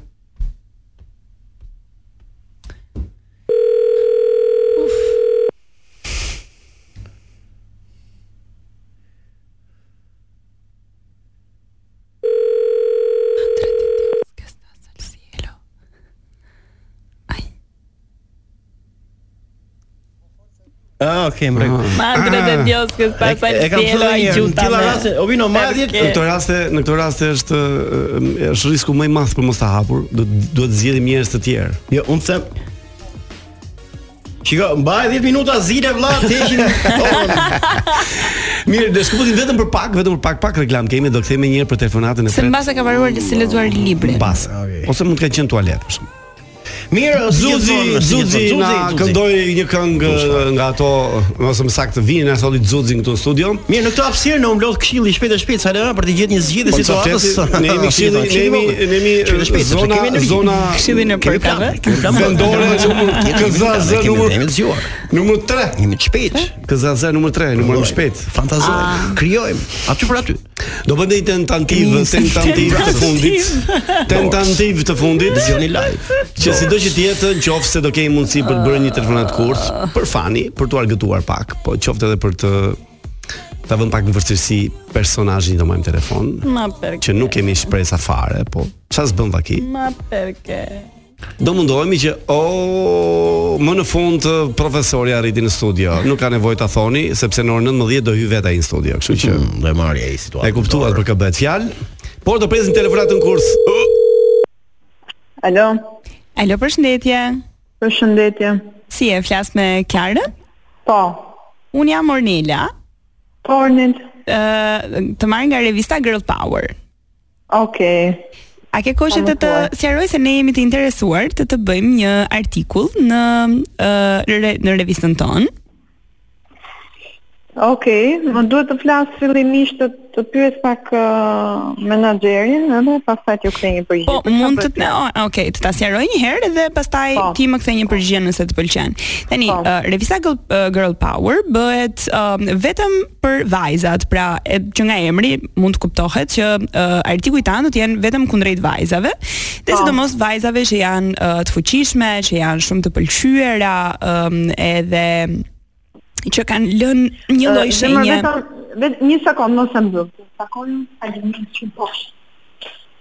okay, mbrek.
Ma ndrët e dioskës pas
Ah, E kam thënë një herë, në këto raste, Ovino madje
Në këto raste, në këto raste është ë, është risku më i madh për mos ta hapur, do duhet zgjedhim njerëz të tjerë.
Jo, unë them Shiko, mbaj 10 minuta zile vlla, të heqin orën.
Mirë, do shkëputim vetëm për pak, vetëm për pak pak reklam kemi, do kthehemi një herë për telefonatën e
Se
tretë.
mbase ka paruar të si lexuar librin.
Mbas.
Okej.
Ose mund të ka qenë tualet për shkak.
Mirë, si
Zuzi,
gjithmonë, si
Zuzi
gjithmonë,
na
Zuzi.
këndoi një këngë nga ato, ose më saktë vini na solli Zuzi këtu në studio.
Mirë, në këtë hapësirë në umblodh këshilli shpejt e shpejt sa lëra për të gjetë një zgjidhje
Po,
situatës. [laughs]
qoftë, ne jemi këshilli,
Shpejt e
ne jemi ne jemi
shpejt, sepse
zona
kemi energji.
zona
Këshillin e
Kemi plan,
përkave.
kemi plan.
vendore numër KZZ
Kemi- kemi
numër
zgjuar.
numër 3.
Jemi të shpejt.
KZZ numër 3, numër më shpejt.
Fantazojmë, krijojmë aty për aty.
Do bënte një tentativ, tentativ të fundit. Tentativ të fundit.
Dëgjoni live.
Që sido që të jetë, nëse do kemi mundësi për të bërë një telefonat kurs për fani, për t'u argëtuar pak, po qoftë edhe për të ta vënë pak në vështirësi personazhin që do marrim telefon,
Ma perke.
që nuk kemi shpresa fare, po çfarë s'bën vaki.
Ma perke.
Do mundohemi që o më në fund të profesori arriti në studio. Nuk ka nevojë ta thoni sepse në orën 19 do hy vetë ai në studio, kështu që
Do e marrë ai situatën.
e kuptuat për kë bëhet fjalë. Por do presim telefonatën kurs.
Alo,
Alo, përshëndetje.
përshëndetje.
Si e flas me Kiarën?
Po,
Un jam Ornela,
Tornit.
ë të marr nga revista Girl Power.
Okej.
A ke kohë që të
Kam
të
kuptuar.
sqaroj se ne jemi të interesuar të të bëjmë një artikull në ë, re, në revistën tonë?
Okej, më duhet të flas fillimisht të, të pyes pak uh, menaxherin, edhe pastaj t'ju kthej një përgjigje.
Po,
Për çfarë
mund të
bëhet?
o, okay, të ta sqaroj një herë dhe pastaj
Po.
ti më kthe një përgjigje nëse të pëlqen. Tani,
Po.
uh, revista Girl, uh, Girl Power bëhet um, vetëm për vajzat, pra e, që nga emri mund të kuptohet që uh, artikuj tanë do të jenë vetëm kundrejt vajzave, dhe
Po.
sidomos vajzave që janë uh, të fuqishme, që janë shumë të pëlqyera, um, edhe që kanë lënë një lloj
Ë, zemër,
shenje.
vetëm- vet- Një sekond, mos e mbyll. Sakon faleminderit shumë posh.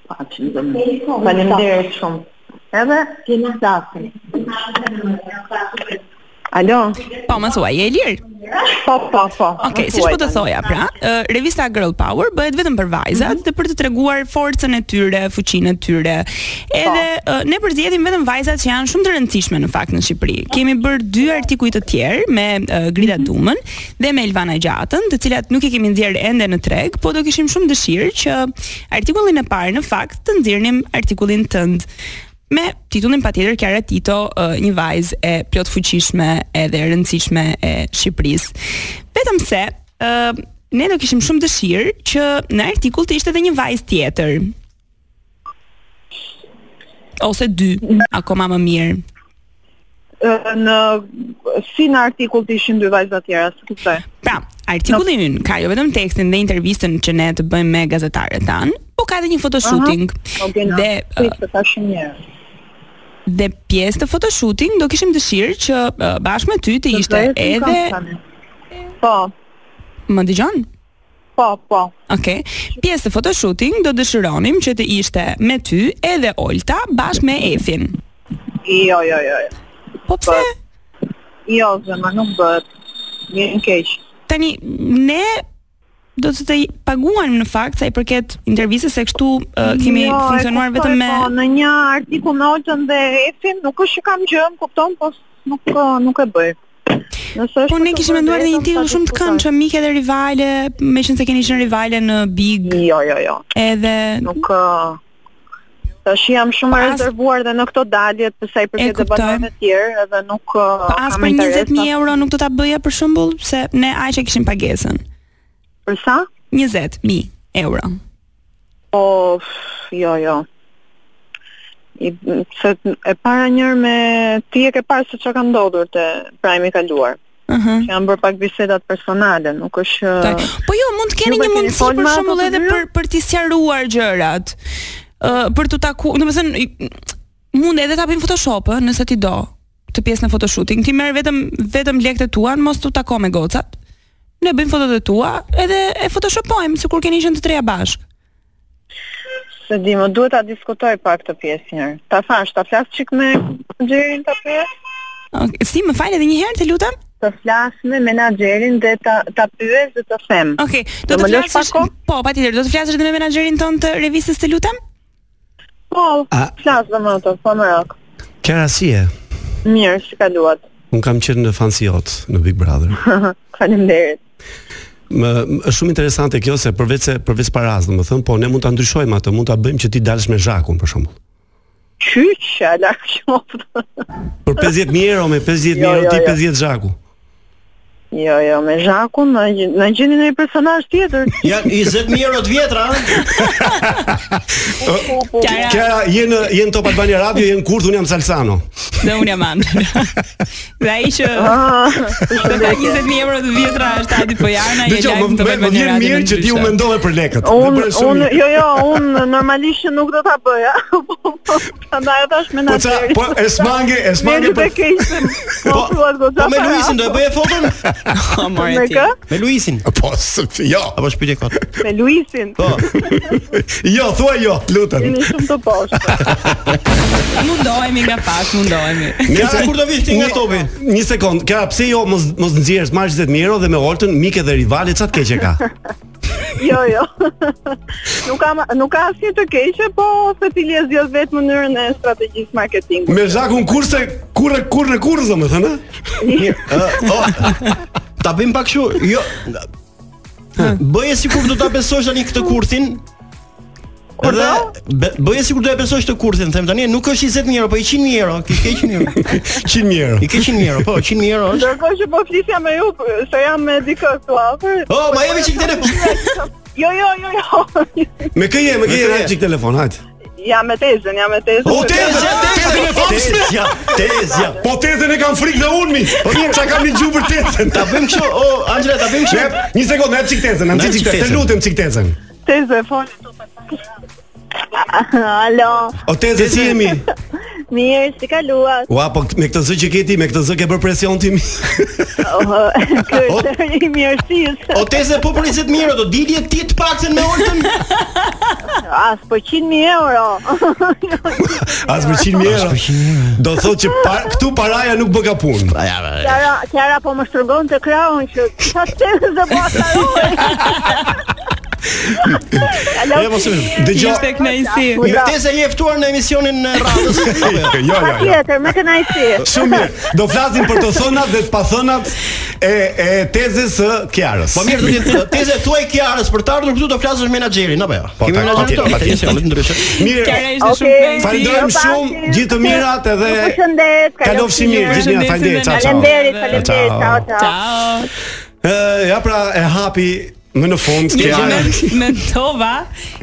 Faleminderit shumë. Edhe kemi datë. Alo.
Po, më thuaj, je e lirë.
Po, po, po.
Okej,
Më
siç
thuaj
po të
tani.
thoja pra, ë, revista Girl Power bëhet vetëm për vajzat dhe për të treguar forcën e tyre, fuqinë e tyre. Edhe ë, ne përzjedhim vetëm vajzat që janë shumë të rëndësishme në fakt në Shqipëri. Kemi bërë dy artikuj të tjerë me ë, Grida Dumën dhe me Elvana Gjatën, të cilat nuk e kemi nxjerrë ende në treg, po do kishim shumë dëshirë që artikullin e parë në fakt të nxjerrnim artikullin tënd me titullin patjetër Kiara Tito, ë, një vajzë e plot fuqishme edhe e rëndësishme e Shqipërisë. Vetëm se ë ne do kishim shumë dëshirë që në artikull të ishte edhe një vajzë tjetër. Ose dy, akoma më mirë.
Ë, në si në artikull të ishin dy vajza të tjera, s'e kuptoj.
Pra, artikulli ynë ka jo vetëm tekstin dhe intervistën që ne të bëjmë me gazetarët tanë, po ka edhe një photoshooting.
Okay, na.
Dhe ë,
prit të tash një herë.
dhe pjesë të photoshooting do kishim dëshirë që ë, bashkë me ty të ishte
Të bëhet
edhe
në kam tani. Po,
më dëgjon?
po, po.
Okej. Pjesë të photoshooting do dëshironim që të ishte me ty edhe Olta bashkë me Efin.
Jo, jo, jo. jo.
Po pse?
Po. Jo, zemër, nuk bëhet. Vjen keq.
tani ne do të të paguajmë në fakt sa i përket intervistës se kështu uh, kemi
Jo, e
funksionuar
kuptoj,
vetëm me
po, në një artikull me Oltën dhe Efin nuk është që kam gjë, më kupton, po s- nuk ë, nuk e bëj. Nëse është
Po
për
ne
të
kishim
bërë
menduar dhe një
vetëm,
titull
ta
shumë të
diskutoj.
këndshëm, miqe dhe rivale, meqense keni qenë rivale në Big
Jo, jo, jo.
edhe
Nuk ë, Tash jam shumë e
Po as-
rezervuar dhe në këto dalje të sa i
E
përket
kuptoj.
debateve të tjerë edhe nuk ë,
po as
kam
për
interes
20000
ta-
euro nuk do ta bëja për shembull, se ne aq e kishim pagesën.
Për sa?
20000 euro.
Po, pff, jo, jo. I, se e para njërë me ti e ke parë se çka ka ndodhur te prajmi i kaluar.
Ëh.
Që janë bërë pak bisedat personale, nuk është
Ta- Po jo, mund të keni
Ju
një
e keni
mundësi
folë
për
me ato
shembull
të
edhe
dyja?
për për të sqaruar gjërat. Ë për të taku, domethënë i- mund edhe ta bëjmë Photoshop ë, nëse ti do të pjesën e photoshooting. Ti merr vetëm vetëm lekët e tua, mos tu tako me gocat. Ne bëjmë fotot e tua edhe e photoshopojmë sikur keni qenë të treja bashkë.
se di, më duhet ta diskutoj pak këtë pjesë njërë. Ta thash, ta flas çik me Xherin ta pyet.
Ok, Si më fal edhe një herë të lutem?
të flas me menaxherin dhe ta ta pyes dhe të them.
Okej, do të flasësh po, patjetër, do të flasësh edhe me menaxherin ton të revistës të lutem?
Po, flas me ato, po më rak.
Qëra si e?
Mirë, si kaluat?
Un kam qenë në fansiot në Big Brother.
[laughs] Faleminderit.
Më më- është shumë interesante kjo se përveç se përveç paras, domethënë, po ne mund ta ndryshojmë atë, mund ta bëjmë që ti dalësh me zhakun për shembull.
Qyç, ala qoftë.
Për 50 mijë euro me 50 mijë
[laughs] Jo,
euro
jo,
ti
jo.
50 zhaku.
Jo, jo, me Zhakun, na gj- na gjeni në një personazh tjetër.
Ja 20000 euro të vjetra,
[laughs]
ëh.
Kjara, je në je në Top Albania Radio, je në Kurt, unë jam Salsano.
Dhe unë jam Andra.
[laughs]
dhe ai që
Ah,
do ka 20000 euro të vjetra është Adi Pojana, je
Dëgjoj, më
lajm të
më- më
bëjmë
vjen mirë që ti u mendove për lekët.
Un
Dhe bëre shumë
un
mirë.
jo jo, un normalisht nuk do ta bëja. [laughs] Po prandaj tash me
Po ça, po e smange, e
[laughs]
smange
për
për
keq. Po thuat goxha.
Po me Luisin do e bëje foton?
Me
mendove.
kë?
Me Luisin.
[laughs]
Po, s- jo.
Apo shpytje kot.
Me Luisin. Po.
Jo, thua jo, lutem.
Jeni shumë të poshtë.
Mundohemi nga pak, mundohemi.
Nëse kur do vish ti nga
Një-
topi?
Një sekond, kja pse jo mos mos nxjerrësh marr 20000 euro dhe me Oltën, mike dhe rivale, çat keq e ka.
Jo, jo. [laughs] nuk ka nuk ka asnjë të keqe, po se ti lje zgjodh vetë mënyrën e strategjisë
[laughs]
marketingut.
[laughs] Me zhakun kurse kurrë kurrë kurrë domethënë. ë?
Ëh,
[laughs]
oh. Ta bëjmë pak kështu. Jo. Bëje sikur do ta besosh tani këtë kurthin.
Kur do?
be- bëje sikur do e besosh të kurthin, them tani, nuk është 20000 euro, po 100000 euro, kish ke 100000 euro.
100 euro.
I ke 100000 euro, po 100000 euro është.
Ndërkohë që po flisja me ju, se jam me dikë këtu afër.
Oh, ma jemi çik telefon.
[laughs] Jo, jo, jo, jo. [laughs]
Me kë je, me kë je,
Me kë je?
hajde çik telefon, hajde.
jam me tezën, jam me tezën.
O tezja, tezja, tezja, tezja.
Po tetën e kam frikë dhe unë mi. Po mirë, çka kam i gjuar për tetën.
Ta bëjmë kështu, o Angela, ta bëjmë
Jep,
kështu.
një sekond, na çik tetën, na
Na
çik
çik
tetën. Të
tezën.
lutem çik tetën.
Tezë, foli [laughs] tu pa. Alo,
O tezë si jemi?
[laughs] mirë, si Oh,
[laughs]
[laughs] kaluat?
Ua, po me këtë zë që ke ti, me këtë zë ke bërë presion ti mi.
Oh, Ky është i mirësisë.
O tezja po për 20000 euro do dilje ti të paktën me Oltën.
As po 100.000 euro. [laughs]
As për 100 euro. Do thotë që par, këtu paraja nuk bë ka punë.
Kjara, Kjara po më shtrëngon të krahun që sa tezë dhe po asaroj.
[laughs]
Alo,
po,
Ja, mos e-
Dëgjoj.
Jo,
Ishte knajsi.
Ura.
Tezja je e ftuar në emisionin e radhës.
Jo, jo,
pa
jo.
tjetër, me kënajsi.
Shumë mirë. Do flasim për të thënat dhe të pathënat e e tezës së Kiarës.
Po mirë, do të jetë teza e tuaj Kiarës për të ardhur këtu do flasësh me menaxherin apo jo?
Po,
Kemi
ta-
menaxherin
patjetër,
tonë,
patjetër.
patjetër, vetëm ndryshe.
Kjara
Mirë.
ishte shumë knajsi.
Falenderojmë shumë, gjithë të mirat edhe
jo, Ju përshëndes,
kalofshi mirë, gjithë mirë,
Përshëndesim
faleminderit.
dhe
Ciao, ciao.
Faleminderit,
Ciao,
faleminderit.
ciao.
Ciao, ciao.
Ciao.
Ë, ja pra e hapi më në fund
Një
Kiara.
moment mendova,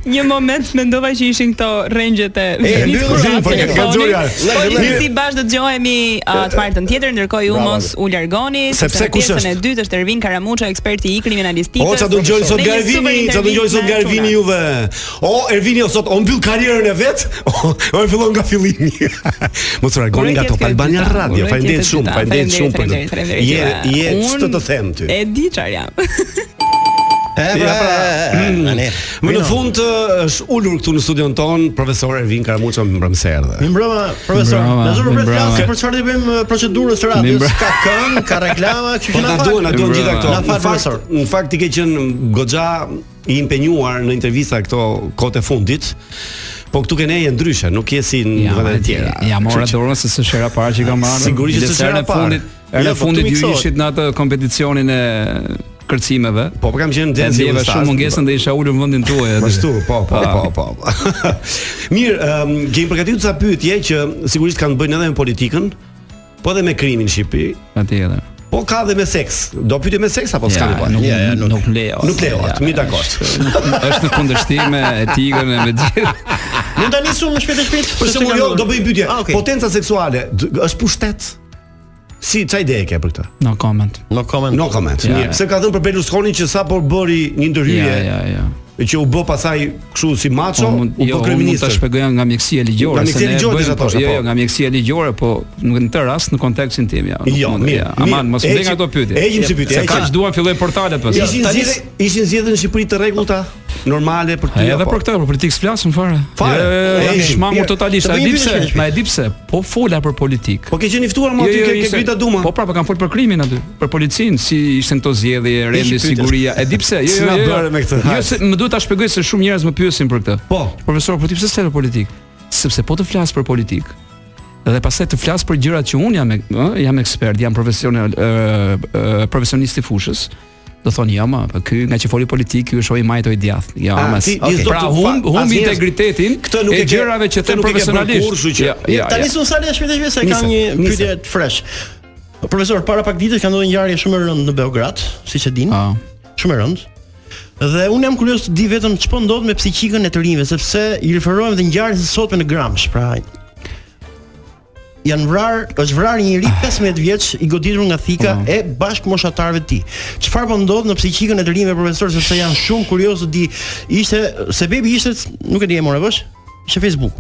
një moment mendova që ishin këto rengjet e
mbyll zin, po, ka zgjuar. Le, le, le.
Si bash do dëgjohemi uh, të martën tjetër, ndërkohë ju mos u largoni,
Sepse
në
kush
pjesën
është?
e dytë është Ervin Karamuça, eksperti i kriminalistikës.
O ça do gjojnë sot
Ne një
Garvini,
super
ça do gjojnë sot
intervistë me
Garvini
Artuna.
juve. O Ervini o sot o mbyll karrierën e vet, [laughs] o, o e fillon nga fillimi. [laughs] Mos reagoni
Uroj
nga
tjetë
Top
kjo
Albania
dyta,
Radio.
uroj
Faleminderit
tjetë
shumë,
dyta,
faleminderit shumë për
faleminderit,
këtë.
faleminderit,
Je je
faleminderit.
ç'të të them ty.
E di çfarë jam.
E
Ja, pra, mm,
[clears throat] tani.
Më në fund ë, është ulur këtu në studion ton profesor Ervin Karamuça më
Mi
mbrëmserdhe.
mbrëma, profesor.
Mbrëma,
Na zgjuar
mi
për
mbrëma.
flasë për çfarë do bëjmë eh, procedurës së
Mi
radios.
mbrëma.
Ka këngë, ka reklama, kështu
Po
që
na
na fal.
duan, na duan gjitha këto.
Na
Në
fal profesor.
fakt, në fakt ti ke qenë goxha i impenjuar në intervista këto kohët e fundit. Po këtu ke ne je ndryshe, nuk je si në vende të tjera.
Ja mora
Kështu që-
dorën se së shera parë që kam marrë.
Sigurisht që s'është
Bileserën
hera
e
parë.
fundit-
Ja,
Erën
po,
e
këtu
fundit ju
miksohet.
ishit në atë kompeticionin e kërcimeve.
Po po kam qenë
E
dance
ndjeva shumë mungesën dhe isha ulur në vendin tuaj aty.
Ashtu, po, po, po,
Pa.
po. [laughs] po. Mirë, um, kemi përgatitur ca pyetje që sigurisht kanë bënë edhe me politikën, po edhe me krimin në Shqipëri,
Patjetër.
po ka edhe me seks. Do pyetje me seks apo s'ka
Ja,
nevojë?
nuk-
Ja, ja,
nuk lejohet.
Nuk lejohet,
Ja,
mirë
[laughs]
dakord.
Është në kundërshtim me etikën e me gjithë.
Ne tani shumë shpejt e shpejt.
Për shembull, jo, do bëj pyetje.
Ah, okay.
Potenca seksuale d- është pushtet? Si çaj ide e ke për këtë?
No comment.
No comment.
No comment.
Ja,
Mirë,
ja.
se ka thënë për Berlusconi që sapo bëri një ndërhyrje
Ja, ja, ja.
që u bë pasaj kështu si macho,
Unë mund-
u bë
jo, unë mund ta
kryeminist.
shpjegoj nga mjekësia ligjore.
Nga
se
mjekësia
ne
ligjore
bëjmë-
isha thosha,
Jo,
po.
jo, nga mjekësia ligjore, po nuk në këtë rast në kontekstin tim ja. nuk
Jo,
mund-
mirë,
ja,
mirë.
Aman, mos
E
më bëj
që-
ato pyetje.
e gjim si pyetje,
Se
e që-
kaq duan filloj portalet po. pas.
Ishin
tani-
zgjedhë, ishin zgjedhë në Shqipëri të rregullta? normale për ty.
A, Edhe për këtë, për politikë s'flasim fare.
Jo, po. Fare.
Jo, jo, jo,
E,
jam i
ishim.
shmangur
Mirë.
totalisht.
Të
A
bëjmë
di
një
pse?
pyetje.
Ma e di pse? Po fola për politikë. Jo,
Po ke qenë i ftuar më aty ke ke grita Duma.
Po prapë kam fol për krimin aty, për policinë, si ishte këto zgjedhje, rendi,
pyetje.
siguria. E di pse? Jo,
Si
jo,
na
jo.
bëre me këtë,
Jo,
hajde.
se më duhet ta shpjegoj se shumë njerëz më pyesin për këtë.
Po.
Profesor, po ti pse s'flas për politikë? Sepse po të flas për politikë dhe pastaj të flas për gjërat që un jam e- ë, jam ekspert, jam profesional ë, ë, profesionist i fushës. Do thonë jo, ma, po ky nga që foli politikë, ky është oj majtë oj djath. Jo,
Ah,
ma.
ti-
Si,
ti s'do
Pra
të
hum
fa-
hum
asnjëherë-
integritetin
Këtë nuk e
e
ke-
gjërave që
këtë
them
nuk e ke bërë
profesionalisht.
kursu që-
Jo, jo,
Tani
jo.
sun sa le shpejt shpejt se
Nise,
kam një
nise.
pyetje të fresh. Profesor, para pak ditësh ka ndodhur një ngjarje shumë e rëndë në Beograd, siç e din.
Ah.
Shumë e rëndë. Dhe unë jam kurioz të di vetëm ç'po ndodh me psiqikën e të rinjve, sepse i referohem dhe ngjarjes së sotme në Gramsh, pra janë vrar, është vrarë një njeri 15 vjeç i goditur nga thika
Mhm.
e bashkë moshatarëve të tij. Çfarë po ndodh në psiqikën e të rinjve profesor sepse janë shumë kurioz të di ishte sebebi ishte nuk e di e morë vesh, ishte Facebook.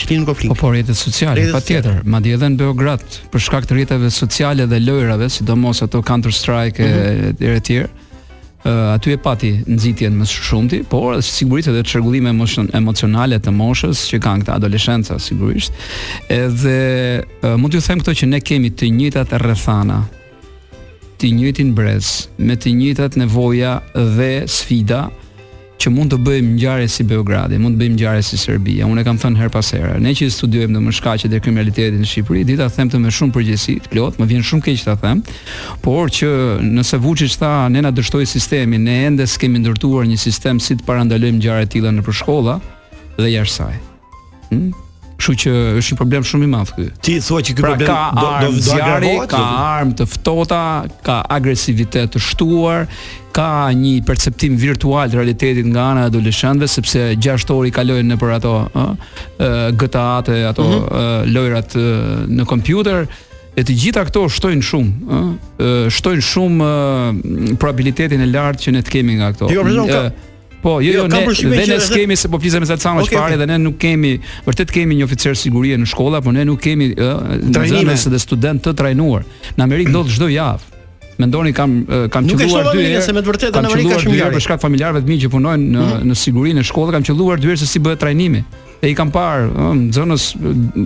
Qëllimi në konflikt.
Po po rrjetet sociale,
Rrjetet
patjetër, madje edhe në Beograd, për shkak të rrjeteve sociale dhe lojrave, sidomos ato Counter Strike e tjerë e tjerë. ë, aty e pati nxitjen më së shumti, por sigurisht edhe çrregullime emocion- emocionale të moshës që kanë këta adoleshenca sigurisht. Edhe ë, mund t'ju them këto që ne kemi të njëjtat rrethana, të njëjtin brez, me të njëjtat nevoja dhe sfida që mund të bëjmë ngjarje si Beogradi, mund të bëjmë ngjarje si Serbia. Unë e kam thënë her pas here. Ne që i studiojmë në shkaqe e kriminalitetit në Shqipëri, di ta them të me shumë përgjegjësi, të plot, më vjen shumë keq ta them, por që nëse Vučić tha ne na dështoi sistemin, ne ende s'kemi ndërtuar një sistem si të parandalojmë ngjarje të tilla nëpër shkolla dhe jashtë saj. Hm? Kështu që është një problem shumë i madh ky.
Ti thua që ky
Pra
problem
ka
do do
armë
do
zjarri,
agravohet,
ka
jo?
do-
armë të ftohta, ka agresivitet të shtuar, ka një perceptim virtual të realitetit nga ana e adoleshentëve sepse 6 orë i kalojnë nëpër ato ë GTA-t, e ato
Mhm.
ë, lojrat ë, në kompjuter e të gjitha këto shtojnë shumë, ë, ë, shtojnë shumë ë, probabilitetin e lartë që ne të kemi nga këto.
Jo, për shembull, ka-
Ë, Po,
Jo,
jo, jo,
kam
ne
përshtypjen
dhe
që
ne
edhe-
s'kemi se po flisem me Salcano
Okej,
okay, çfarë
okej.
dhe ne nuk kemi, vërtet kemi një oficer sigurie në shkolla, por ne nuk kemi ë,
Trajnime.
nxënës dhe student të trajnuar. Në Amerikë ndodh çdo javë. Mendoni kam ë, kam
Nuk e
qelluar
shtova
dy
Amerikën,
herë.
se me të vërtetë
kam
në Amerikë
qelluar
ka shumë Mm.
dy herë
ngjarje.
për shkak familjarëve të mi që punojnë në në sigurinë e shkollës, kam qelluar dy herë se si bëhet trajnimi. Dhe i kam parë ë, nxënës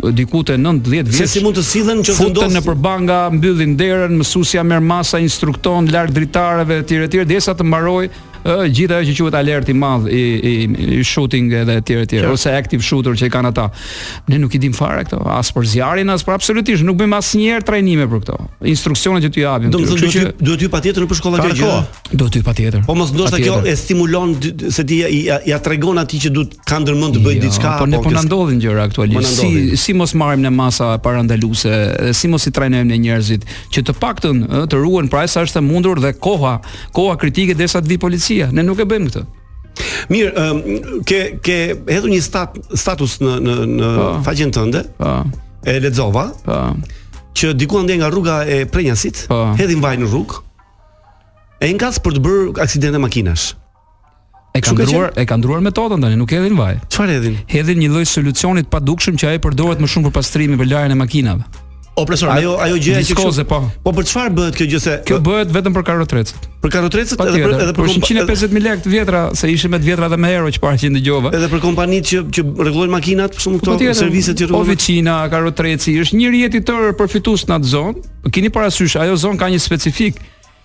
ë, diku te 9-10
Se
vjeç.
si mund të sillen nëse
Futen
ndos-
në për banga, mbyllin derën, mësuesja merr masa, instrukton larg dritarëve etj etj derisa të mbaroj ë gjithë ajo që quhet alert i madh i i, i shooting edhe etj etj ose active shooter që i kanë ata. Ne nuk i dim fare këto, as për zjarrin, as për absolutisht, nuk bëjmë asnjëherë trajnime për këto. Instruksionet që t'ju japim.
Do të
këtyre.
thotë
Kështu
duhet ju- duhet ju patjetër për shkolla
Ka
kjo gjë.
kohë. Do ty patjetër.
Po mos ndoshta kjo
Patjetër.
e stimulon dy- dy- se ti ja- ja ja tregon atij që duhet ka ndërmend të bëj
Jo,
diçka
Po ne po
kjo
na
s-
ndodhin gjëra
Po na
aktualisht.
ndodhin.
Si si mos marrim në masa parandaluese, e si mos i trajnojmë ne njerëzit që të paktën ë, të ruhen pra sa është e mundur dhe koha, koha kritike derisa të vi policia. Ne nuk e bëjmë këtë.
Mirë, ëm, ke ke hedhur një stat, status në në në faqen tënde.
Po.
E lexova.
Po.
Që diku ande nga rruga e Prenjasit, hedhin vaj në rrugë. E ngas për të bërë aksidente makinash.
E
Kështu
kanë
ka
ndruar, e kanë ndruar metodën tani, nuk hedhin vaj.
Çfarë hedhin?
Hedhin një lloj solucionit pa dukshëm që ai përdoret më shumë për pastrimin për larjen e makinave.
O profesor,
Ajo ajo gjëja që
Viskoze,
kështu-
po.
Po për çfarë bëhet kjo gjë se
Kjo bëhet vetëm për karotrecët.
për karotrecët edhe
Patjetër,
për edhe për, kompa-
150 mijë lekë të vjetra, se ishim me të vjetra dhe me euro që para që ndëgjova.
edhe për kompanitë që që rregullojnë makinat, për shkakun
Po
këto
tjetër,
serviset që rregullojnë.
Oficina, Karotreci, është një rjeti tërë përfitues në atë zonë. Keni parasysh, ajo zonë ka një specifik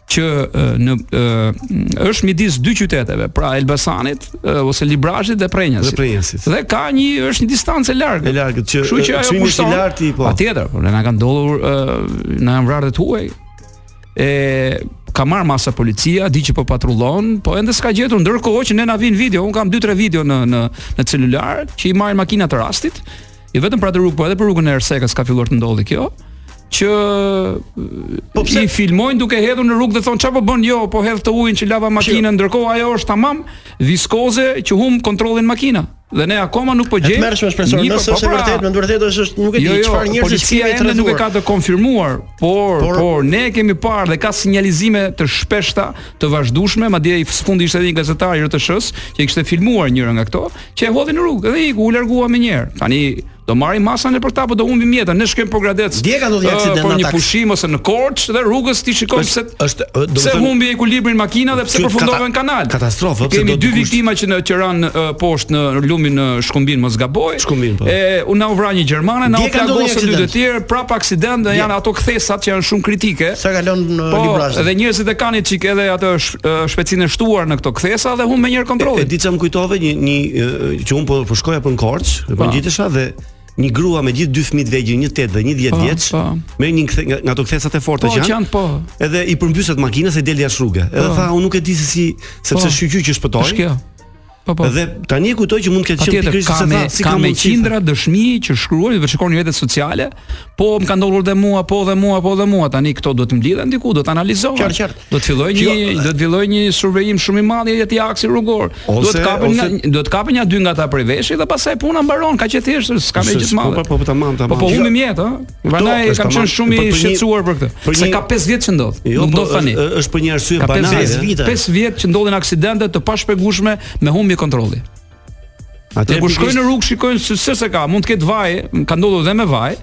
që e, në e, është midis dy qyteteve, pra Elbasanit e, ose Librazhit dhe Prenjasit.
Dhe Prenjasit.
Dhe ka një është një distancë e largët.
E largët, që,
Kështu që
e,
ajo
çmimi është i
kushton.
lartë i, po.
Patjetër, po ne na kanë ndodhur e, na janë vrarë të huaj. E ka marr masa policia, di që po patrullon, po ende s'ka gjetur ndërkohë që ne na vin video, un kam 2-3 video në në në celular që i marrin makina të rastit. Jo vetëm për atë rrugë, po edhe për rrugën e Ersekës ka filluar të ndodhi kjo që po pse i filmojnë duke hedhur në rrugë dhe thonë çfarë po bën jo, po hedh të ujin që lava makinën, ndërkohë ajo është tamam viskoze që hum kontrollin makina. Dhe ne akoma nuk po
E të
gjejmë.
mërshme profesor,
një-
nëse
po,
është e
pra, jo,
vërtetë, me të vërtetë është është- nuk e di çfarë njerëz
policia ende nuk e ka të konfirmuar, por, por ne e kemi parë dhe ka sinjalizime të shpeshta, të vazhdueshme, madje i sfundi ishte edhe një gazetar i RTS-s që i kishte filmuar njëra nga këto, që e hodhi në rrugë dhe i u largua më një herë. Tani Do marrim masën e për ta, po do humbim jetën. Ne shkojmë për Gradec.
Dje ka ndodhur aksident
në një
atak.
pushim ose në Korçë dhe rrugës ti shikon pse
është do të
pse
them-
humbi ekuilibrin makina dhe pse
Kjo
përfundove
kata-
në kanal.
katastrofë, pse
Kemi
do
dy
dikush-
viktima që në Tiranë ë, poshtë në lumin në Shkumbin mos gaboj.
Shkumbin, po.
E u na u vra një gjermane, na u
Dje ka ndodhur një
plagosën dy të
aksident.
tjerë, prap aksident dhe janë ato kthesat që janë shumë kritike.
Sa uh, kalon në
Po,
librazhin.
dhe njerëzit e kanë çik edhe atë sh- ë, shpejtësinë e shtuar në këto kthesa dhe humbën një herë
E
kontrollin.
di çam kujtove një një e, që un po po shkoja për në Korçë, po
Pa.
ngjitesha dhe një grua me gjithë dy fëmijë të vegjël, një 8 dhe një 10
Pa,
vjeç,
pa.
me një kthe- nga, nga ato kthesat e forta
Po, që janë, po.
Edhe i përmbyset makina se del jashtë rruge. Edhe
Po.
tha, unë nuk e di se si sepse
Po.
shqyqy që shpëtoi.
Është kjo. Po po.
Dhe tani e kujtoj që mund të ketë qenë
Patjetër
pikërisht
ka
se
me
tha, si
ka
kam
me qindra dëshmi që shkruajnë dhe shikoni rrjetet sociale, po më ka ndodhur dhe mua, po dhe mua, po dhe mua. Tani këto do të mblidhen diku, do të analizohen.
Qartë, qartë.
Do të filloj
Jo,
një do të filloj një survejim shumë i madh i atij aksi rrugor. Do
Ose-
të kapen nga
ose-
do të kapen nga dy nga ata prej veshit dhe pastaj puna mbaron, kaq e thjeshtë, s'ka më gjë të madhe.
Po po tamam tamam.
Po po humbim jetë, ëh. Prandaj
është
kam
tamam.
qenë shumë
Po,
i
për një-
shqetësuar për
për
këtë. Se
një-
ka 5 vjet që ndodh.
Jo,
Nuk
po
ndodh tani.
është është për një arsye
Ka 5
banale. eh?
vjet, 5 vjet që ndodhin aksidente të pashpjegueshme me humbje kontrolli. Atë
Atëherë
kur shkojnë
pikërisht-
në rrugë shikojnë se se se ka, mund të ketë vaje, më ka ndodhur dhe me vaje.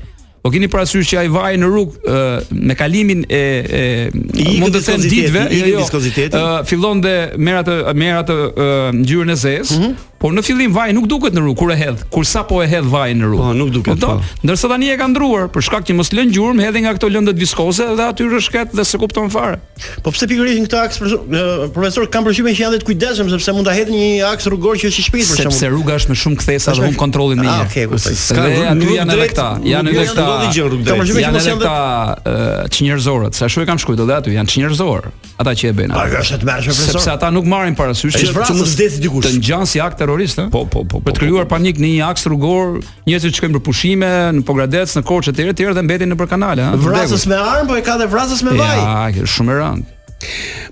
Po keni parasysh që ai vaje në rrugë ë, me kalimin e, e
I ikë
mund të them
viskoziteti,
ditëve,
i ikë viskoziteti.
ë, jo. fillon dhe merr atë merr atë ë, ngjyrën e zezë,
Mhm.
por në fillim vaji nuk duket në rrugë kur e hedh, kur sapo e hedh vajin në rrugë.
Po, nuk duket,
Kupton?
po.
Ndërsa tani e ka ndruar për shkak që mos lën gjurmë, hedhin nga këto lëndët viskoze dhe aty rrshket dhe se kupton fare.
Po pse pikërisht në këtë aks profesor, ë, profesor kam përshtypjen që janë dhe të kujdesshëm sepse mund ta hedh një aks rrugor që është i shpejtë për
Sepse
shembull.
rruga është me shumë kthesa dhe hum kontrollin më
Ah,
herë.
okay, kuptoj.
Ka
Ka
dhe
rrugë-
aty
rrugë
janë edhe
drejt,
këta,
rrugë
janë edhe
drejt,
këta.
ndodhi gjë rrugë drejt.
Kam përshtypjen që
Janë
mos
edhe
janë
këta ë, çnjerëzorët, sa shoh e kam shkruajtur edhe aty, janë çnjerëzor. Ata që e bëjnë.
Pa,
atë.
është të mërshme profesor.
Sepse ata nuk marrin parasysh
Ai vrasës.
që
Që mund pra të vdesë dikush.
Të ngjan si akt terrorist, ë?
Po, po, po,
Për
po,
të krijuar panik në një aks rrugor, njerëzit që shkojnë për pushime në Pogradec, në Korçë etj, etj dhe mbeten nëpër kanale, ë?
Vrasës me armë, po e ka dhe vrasës me vaj.
[laughs]
Ja, kjo është shumë e rëndë.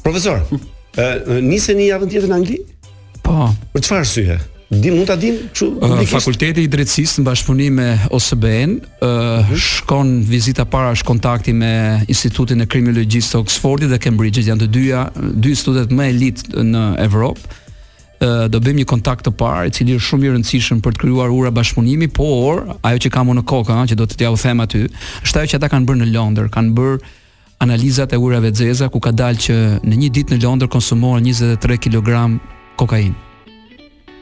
Profesor, ë, niseni javën tjetër në Angli?
Po.
Për çfarë arsye? Di mund ta dim kështu
Ë,
publikisht?
Fakulteti i Drejtësisë në bashkëpunim me OSBE-n ë shkon vizita para është kontakti me Institutin e Kriminologjisë të Oxfordit dhe Cambridge-it, janë të dyja dy institutet më elit në Evropë. Ë do bëjmë një kontakt të parë, i cili është shumë i rëndësishëm për të krijuar ura bashkëpunimi, por ajo që kam unë në kokë, ëh, që do të t'ja u them aty, është ajo që ata kanë bërë në Londër, kanë bërë analizat e urave të zeza ku ka dalë që në një ditë në Londër konsumohen 23 kg kokainë.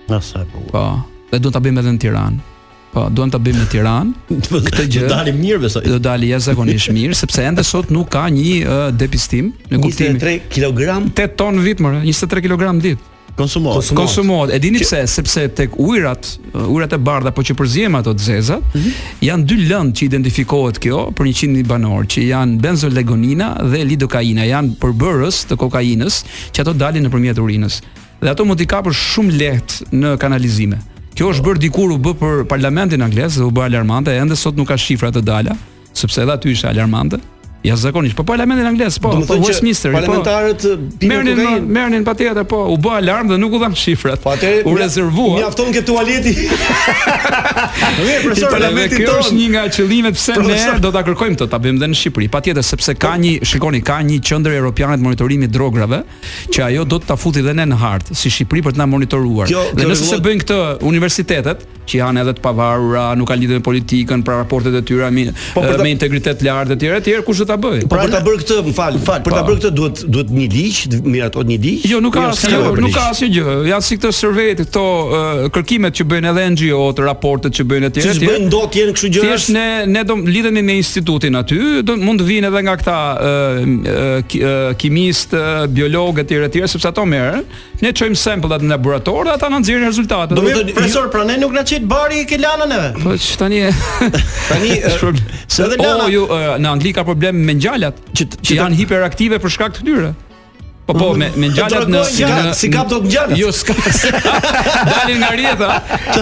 Na sa po.
Po. Dhe duhet ta bëjmë edhe në Tiranë. Po, duam ta bëjmë në Tiranë.
Këtë
gjë-
dalim mirë besoj.
Do dali jashtëzakonisht mirë sepse ende sot nuk ka një uh, depistim në kuptimin
23 kg
8 ton vit më, 23 kg në ditë.
Konsumohet.
Konsumohet.
Konsumohet. E dini pse? Sepse tek ujërat, uh, ujërat e bardha, po që përzihen ato të zezat,
Mhm.
janë dy lëndë që identifikohet kjo për 100.000 banor, që janë benzolegonina dhe lidokaina, janë përbërës të kokainës, që ato dalin nëpërmjet urinës. Dhe ato mund t'i kapësh shumë lehtë në kanalizime. Kjo është bërë dikur u bë për parlamentin anglez dhe u bë alarmante, ende sot nuk ka shifra të dala, sepse edhe aty ishte alarmante. Ja zakonisht, po parlamentin anglez, po,
Do të
po
thonë që
Westminster, po.
parlamentarët uh, pinë
Merrnin
kokainë.
merrnin patjetër, po, u bë alarm dhe nuk u dhan shifrat.
Po atëherë
u rezervua.
Mjafton ke
[laughs]
tualeti. Mirë,
Dhe
profesor, parlamentin
kjo është
tonë.
një nga qëllimet pse
Profesor.
ne do ta kërkojmë të ta bëjmë edhe në Shqipëri. Patjetër sepse ka një, shikoni, ka një qendër europiane të monitorimit drograve që ajo do të ta futi dhe ne në hartë si Shqipëri për të na monitoruar.
Kjo-
dhe
kjo
nëse se
rregullon-
bëjnë këtë universitetet që janë edhe të pavarura, nuk kanë lidhje me politikën, pra raportet e tyre mi-
Po, për ta-
me integritet lart etj etj, kush do ta bëjë?
Po për
Pra,
ta bërë këtë, më fal,
M'fal,
për ta
po.
bërë këtë duhet duhet një ligj, miratohet një ligj.
Jo, nuk ka
Mirë,
asnjë,
s'ka për
nuk
ligj.
ka asnjë gjë. Janë si këto survey, këto uh, kërkimet që bëjnë edhe NGO-t, raportet që bëjnë etj
Që
etj.
s'bëjnë dot janë kështu gjëra.
Thjesht ne ne do lidhemi me institutin aty, do mund të vinë edhe nga këta ë ë, ki- ë, kimist, ë, biologë etj etj, sepse ato merren. Ne çojmë sampullat në laborator dhe ata na nxjerrin rezultatet.
Do me
Mirë, Profesor, pra ne nuk na çet bari ke lana neve.
Po që tani [laughs]
Tani, e,
se edhe
O
lana-
ju e, në Angli ka problem me ngjalat që, që janë hiperaktive për shkak të tyre. Po po me me ngjalat në
Si kap- si kap do të ngjalat.
Jo s'ka. [laughs] Dalin nga rrjeta.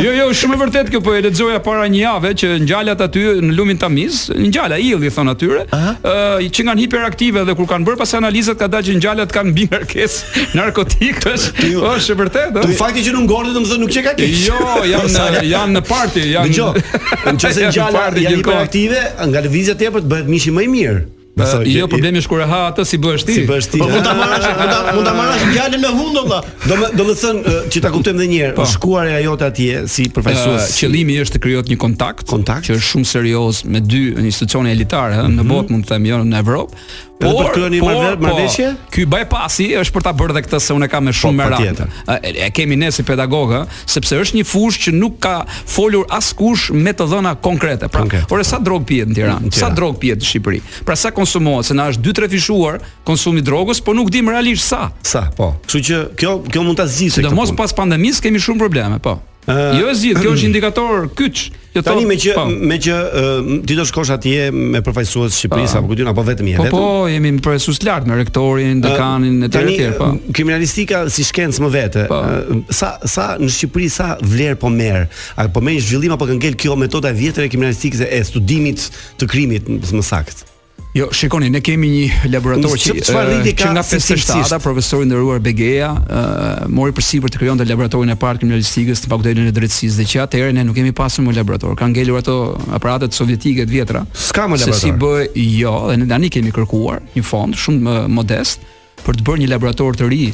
Jo jo shumë e vërtet kjo po e lexoja para një jave që ngjalat aty në lumin Tamiz, ngjala illi thon atyre, ë që kanë hiperaktive dhe kur kanë bërë pas analizat ka dalë që ngjalat kanë mbi kërkesë narkotikësh. Është e vërtetë.
Në
ë?
fakti që nuk ngordet, domethënë nuk çe ka keq.
Jo, janë janë në parti, janë.
Dgjoj, nëse
Janë në [laughs]
gjala
parti
janë
gjithkohë.
hiperaktive, nga lëvizja tepër të bëhet mishi më i mirë.
Besoj, jo problemi është kur e ha atë si bësh ti.
Si bësh ti.
Po mund ta marrësh,
[laughs]
mund ta mund ta marrësh djalën me hund valla.
Do më do të thënë që ta kuptojmë edhe një
Po.
herë, shkuarja jote atje si përfaqësues.
Qëllimi është të krijohet një kontakt,
kontakt
që është shumë serioz me dy institucione elitare, ëh, në botë mund të them, jo në Evropë. po,
Por, për të një marrëveshje?
Ky bypassi është për ta bërë dhe këtë se unë kam me shumë po, merat. E, e kemi ne si pedagogë, sepse është një fushë që nuk ka folur askush me të dhëna konkrete. Pra, okay. por e sa drog pihet në Tiranë? Sa drog pihet në Shqipëri? Pra sa konsumohet, se na është 2-3 fishuar konsumi i drogës, por nuk dim realisht sa.
Sa, po. Kështu që kjo kjo mund ta zgjidhë.
Sidomos pas pandemisë kemi shumë probleme, po. Uh, jo e zgjidh, kjo është
[clears throat]
indikator kyç.
Jo tani me
po.
që pa. me që uh, ti do shkosh atje me përfaqësues Shqipërisë apo kujtun apo vetëm je
vetëm. Po po, jemi me përfaqësues lart me rektorin, dekanin uh, etj etj, po.
Kriminalistika si shkencë më vete. Pa. Uh, sa sa në Shqipëri sa vlerë po merr? A po merr zhvillim apo ka ngel kjo metoda e vjetër e kriminalistikës e studimit të krimit më saktë?
Jo, shikoni, ne kemi një laborator që
çfarë rriti ka
nga 57-a profesori nderuar Begeja, uh, mori përsipër të krijonte laboratorin e parë kriminalistikës në Fakultetin e Drejtësisë dhe që atëherë ne nuk kemi pasur më laborator. Kanë ngelur ato aparatet sovjetike të vjetra.
S'ka më laborator.
Se si bëj jo, dhe ne tani kemi kërkuar një fond shumë më modest për të bërë një laborator të ri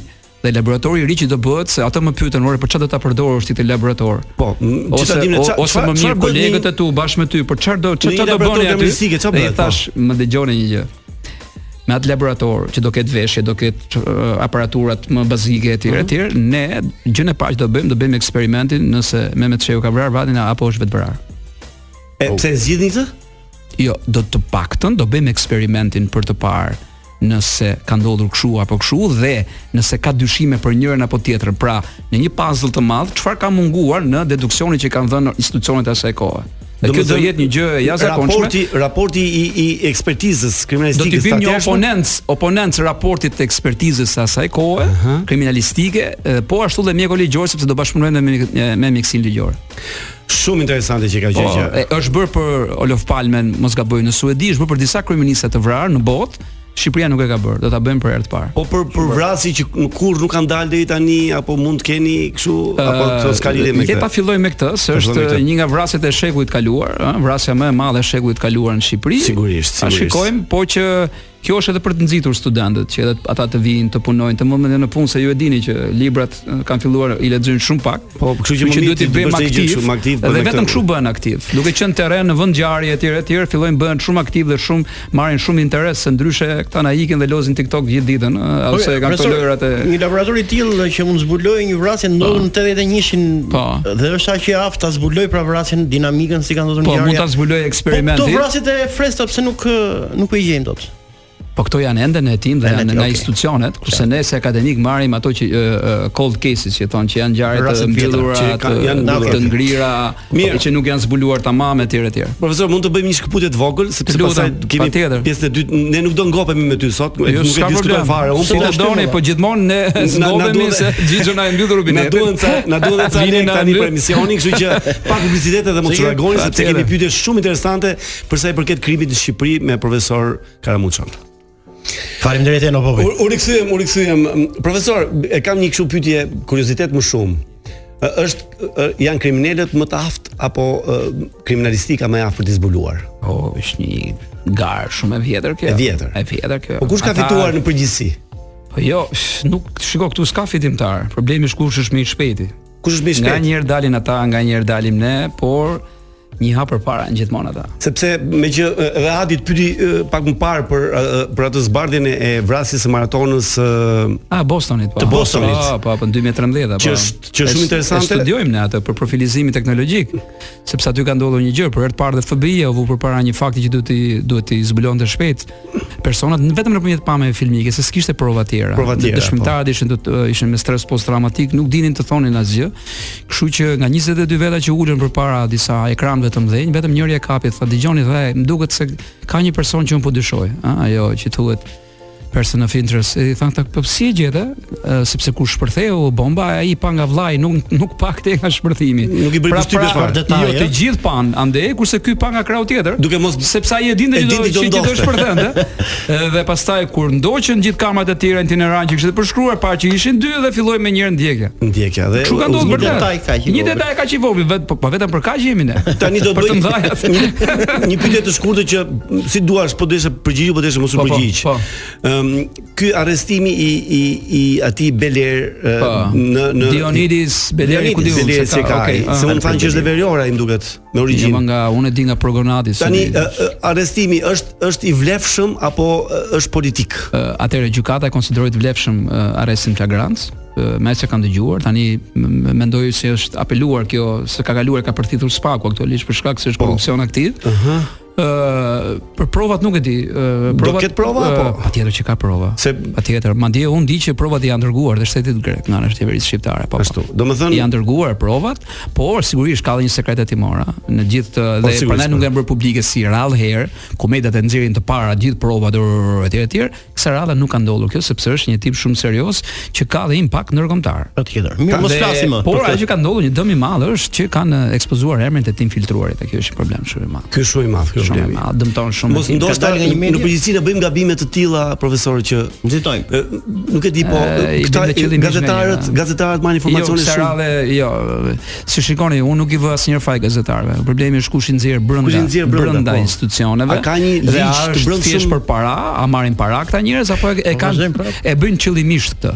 dhe laboratori i ri që do bëhet se ata më pyetën orë për çfarë do ta përdorësh ti te laborator.
Po,
ose dim ne çfarë ose më mirë kolegët e tu bashkë me ty, për çfarë do çfarë do bëni aty?
Çfarë bëhet?
Dhe thash, më dëgjoni një gjë me atë laborator që do ketë veshje, do ketë uh, aparaturat më bazike etj
Mhm.
etj, uh -huh. ne gjën e parë që do bëjmë, do bëjmë eksperimentin nëse Mehmet Sheu ka vrarë vatin apo është vetë vrarë.
E pse oh. zgjidhni këtë?
Jo, do të paktën do bëjmë eksperimentin për të parë nëse ka ndodhur kështu apo kështu dhe nëse ka dyshime për njërin apo tjetrën. Pra, në një puzzle të madh, çfarë ka munguar në deduksionin që kanë dhënë institucionet e asaj kohe? Dhe kjo do jetë një gjë e jashtëzakonshme.
Raporti raporti i i ekspertizës kriminalistike
do të bëjmë një po oponent oponent raportit të ekspertizës së asaj kohe uh -huh. kriminalistike, po ashtu dhe mjeku ligjor sepse do bashkëpunojmë me me mjekësinë ligjore.
Shumë interesante që ka
Po,
gjë që.
Është bërë për Olof Palmen, mos gaboj në Suedi, është bërë për disa kriminalistë të vrarë në botë, Shqipëria nuk e ka bërë, do ta bëjmë për herë të parë.
Po për për vrasi që kur nuk kanë dalë deri tani apo mund të keni kështu apo të s'ka lidhje me këtë.
Le ta fillojmë me këtë, se është një nga vrasjet e shekullit të kaluar, ëh, vrasja më e madhe e shekullit të kaluar në Shqipëri.
Sigurisht, sigurisht.
A shikojmë, po që kjo është edhe për të nxitur studentët, që edhe ata të vinë, të punojnë, të mëmendin në punë se ju e dini që librat kanë filluar i lexojnë shumë pak.
Po, kështu që, që duhet të bëjmë aktiv, shumë aktiv
dhe vetëm kështu bëhen aktiv. Duke qenë terren në vend ngjarje etj etj, fillojnë bëhen shumë aktiv dhe shumë marrin shumë interes se ndryshe këta na ikin dhe lozin TikTok gjithë ditën ose kanë këto lojrat e
Një laborator i tillë që mund zbulojë një vrasje ndodhur
Po.
në 81-shin dhe është aq i aftë ta zbuloj pra vrasjen dinamikën si kanë ndodhur ngjarja.
Po mund ta zbuloj eksperimentin.
Po, këto vrasjet e freskëta pse nuk nuk e gjejmë dot.
Po këto janë ende në hetim dhe janë në okay. institucionet, kurse ne si akademik marrim ato që uh, cold cases që thonë që janë ngjarje të mbyllura, të, janë të ngrira, Mirë. që nuk janë zbuluar tamam etj etj.
Profesor, mund të bëjmë një shkputje të vogël sepse pastaj kemi pjesën e dytë, ne nuk do ngopemi me ty sot, jo, nuk e diskutoj fare.
Unë po doni, po gjithmonë ne ngopemi
[laughs]
se gjithë na e mbyll
Na
rubinetin.
duhen ca, na duhen [laughs] ca ne tani për emisionin, kështu [laughs] që pa publicitet edhe mos reagoni sepse kemi pyetje shumë interesante për sa i përket krimit në Shqipëri me profesor Karamuçon.
Faleminderit Eno Popi.
U rikthyem, u rikthyem. Profesor, e kam një kështu pyetje, kuriozitet më shumë. Është janë kriminalët më të aftë apo kriminalistika më e aftë për të zbuluar?
Oh, është një garë shumë e vjetër kjo.
E vjetër.
E vjetër kjo.
Po kush ka Ata... fituar në përgjithësi?
Po jo, nuk shiko këtu s'ka fitimtar. Problemi është kush është më i shpejti.
Kush është më i shpejti?
Nga një herë dalin ata, nga një herë dalim ne, por një hap përpara në gjithmonë ata.
Sepse me që edhe Hadi të pyeti pak më parë për për atë zbardhjen e vrasjes së maratonës
a Ah, Bostonit
po. Të Bostonit.
Po, po, po në 2013 apo.
Që është që është shumë interesante.
Studiojmë ne atë për profilizimin teknologjik, sepse aty ka ndodhur një gjë, për herë të parë dhe FBI-ja u vë përpara një fakti që duhet i duhet i zbulonte shpejt. Personat vetëm nëpërmjet pamjeve filmike, se s'kishte prova tjera.
Prova tjera. po.
Dëshmitarët ishin ishin me stres post-traumatik, nuk dinin të thonin asgjë. Kështu që nga 22 veta që ulën përpara disa ekranëve të mëdhenj, vetëm njëri e kapi, tha dëgjoni dhe më duket se ka një person që un po dyshoj, ëh, ajo që thuhet person of interest. E i than këta, po si e gjete? Ë, sepse kur shpërtheu bomba, ai i pa nga vllai, nuk nuk pa këtë nga shpërthimi.
Nuk i bëri përshtypje
fare. Jo, të gjithë pan ande, kurse ky pa nga krau tjetër.
Duke mos
sepse ai e dinte që do të që do shpërthente. [laughs] Dhe pastaj kur ndoqën gjithë kamat e tjera në Tiranë që kishte përshkruar pa që ishin dy dhe filloi me njërin ndjekja.
Ndjekja
dhe Çu ka ndodhur për
detaj kaq.
Një detaj kaq i vogël, vetë po vetëm për kaq jemi ne.
Tani
[laughs]
do [laughs]
bëj
një pyetje të shkurtër që si duash po deshe përgjigj po deshe mos u përgjigj. Ëm ky arrestimi i i i atij Beler
në në Dionidis Beleri ku diun
se ka. Okej, se un thanë që është verior ai më duket me origjinë.
nga unë e di nga Progonatis.
Tani arrestimi është është i vlefshëm apo është politik?
Eh, Atëherë gjykata e konsideroi të vlefshëm eh, arrestin flagrant Eh, me se kam dëgjuar, tani mendoj se është apeluar kjo se ka kaluar ka përthitur spaku aktualisht për shkak se është po. korrupsion aktiv. Ëh. Uh -huh. Uh, për provat nuk e di. Uh,
provat, Do ket prova apo? Uh,
patjetër që ka prova.
Se
patjetër, madje un di që provat janë dërguar dhe shtetit grek nga ana qeverisë shqiptare, po.
Ashtu. Domethënë
janë dërguar provat, por sigurisht ka dhe një sekret hetimor në gjithë po, dhe prandaj nuk janë bërë publike si rall herë, ku mediat e nxjerrin të para gjithë provat etj etj. Kësaj radhe nuk ka ndodhur kjo sepse është një tip shumë serioz që ka dhe impakt ndërkombëtar.
Patjetër. Mirë, mos flasim më.
Por ajo që ka ndodhur një dëm i madh është që kanë ekspozuar emrin e tim filtruarit, kjo është një problem shumë i madh.
Ky është shumë i madh, kjo
shumë ma dëmton shumë.
Mos ndoshta nga një në përgjithësi ne bëjmë gabime të tilla profesor që
nxitojmë.
Nuk e di po e, këta gazetarët, gazetarët marrin informacione
jo,
shumë.
Rale, jo, si shikoni, unë nuk i vë asnjë faj gazetarëve. Problemi është kush i nxjerr brenda brenda po. institucioneve.
A ka një ligj
të Po, brendshëm për para, a marrin para këta njerëz apo e, e kanë e bëjnë qëllimisht këtë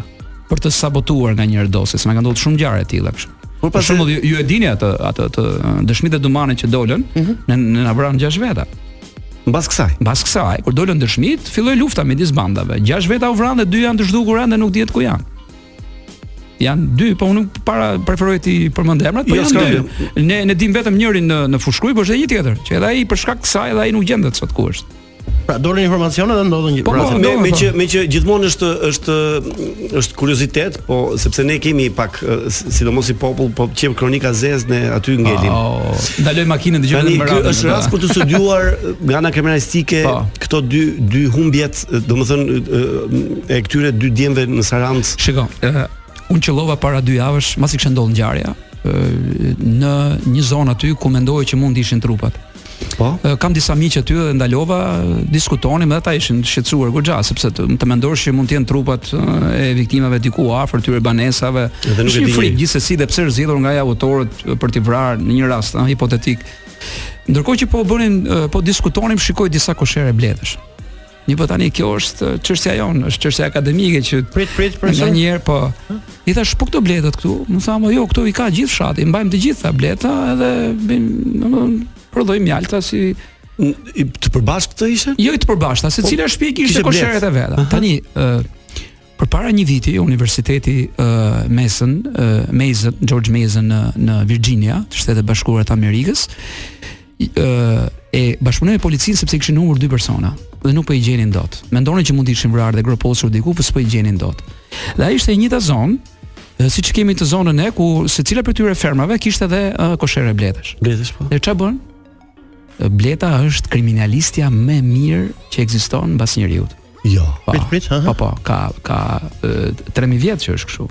për të sabotuar nga një dosje, se na kanë ndodhur shumë gjare të tilla kështu. Por për shembull ju e dini atë atë të dëshmitë dëmane që dolën mm -hmm. në në Navran 6 veta.
Mbas kësaj.
Mbas kësaj, kur dolën dëshmitë, filloi lufta midis bandave. 6 veta u vranë dhe 2 janë të zhdukura dhe nuk dihet ku janë. Janë dy, po unë nuk para preferoj ti përmend emrat, po jo, janë dy. Ne ne dim vetëm njërin në në Fushkruj, por është edhe një tjetër, që edhe ai për shkak kësaj edhe ai nuk gjendet sot ku është.
Pra dolën informacione dhe ndodhën një pra,
po, po, me, me që me që gjithmonë është është është kuriozitet, po sepse ne kemi pak sidomos i popull, po qep kronika zezë ne aty ngelim.
Oh, ndaloj makinën dëgjojmë
më radhë. Është rast për të studiuar nga ana kriminalistike po. këto dy dy humbjet, domethënë e këtyre dy djemve në Sarandë.
Shikoj, unë qellova para dy javësh, masi kishte ndodhur ngjarja në një zonë aty ku mendoj që mund të ishin trupat.
Po.
Kam disa miq aty dhe ndalova, diskutonim dhe ata ishin shqetësuar goxha sepse të, të mendosh që mund të jenë trupat e viktimave diku afër tyre banesave.
Dhe nuk e di.
Frikë gjithsesi dhe pse rrjedhur nga ja autorët për t'i vrarë në një rast, ëh, hipotetik. Ndërkohë që po bënin po diskutonim, shikoj disa koshere bledhësh. Një po tani kjo është çështja jonë, është çështja akademike që
prit prit
për sa një herë po. I thash po këto bledhët këtu, më tha jo, këto i ka gjithë fshati, mbajmë të gjitha bledha edhe domethënë prodhoi mjalta si
i të përbashkët të ishte?
Jo i të përbashkëta, secila po, shtëpi kishte kosheret e veta. Aha. Tani ë uh, përpara një viti Universiteti uh, Mason, uh, Mason George Mason në në Virginia, të Shtetet Bashkuara të Amerikës, ë e bashkëpunoi me policinë sepse kishin humbur dy persona dhe nuk po i gjenin dot. Mendonin që mund të ishin vrarë dhe groposur diku, por s'po i gjenin dot. Dhe ai ishte e njëjta zonë, siç kemi të zonën e ku secila prej tyre fermave kishte edhe uh, koshere bletësh.
Bletësh po.
Dhe çfarë bën? Bleta është kriminalistja më mirë që ekziston mbas njeriu.
Jo.
Po,
prit prit, ha.
Po po, ka ka 3000 vjet që është kështu.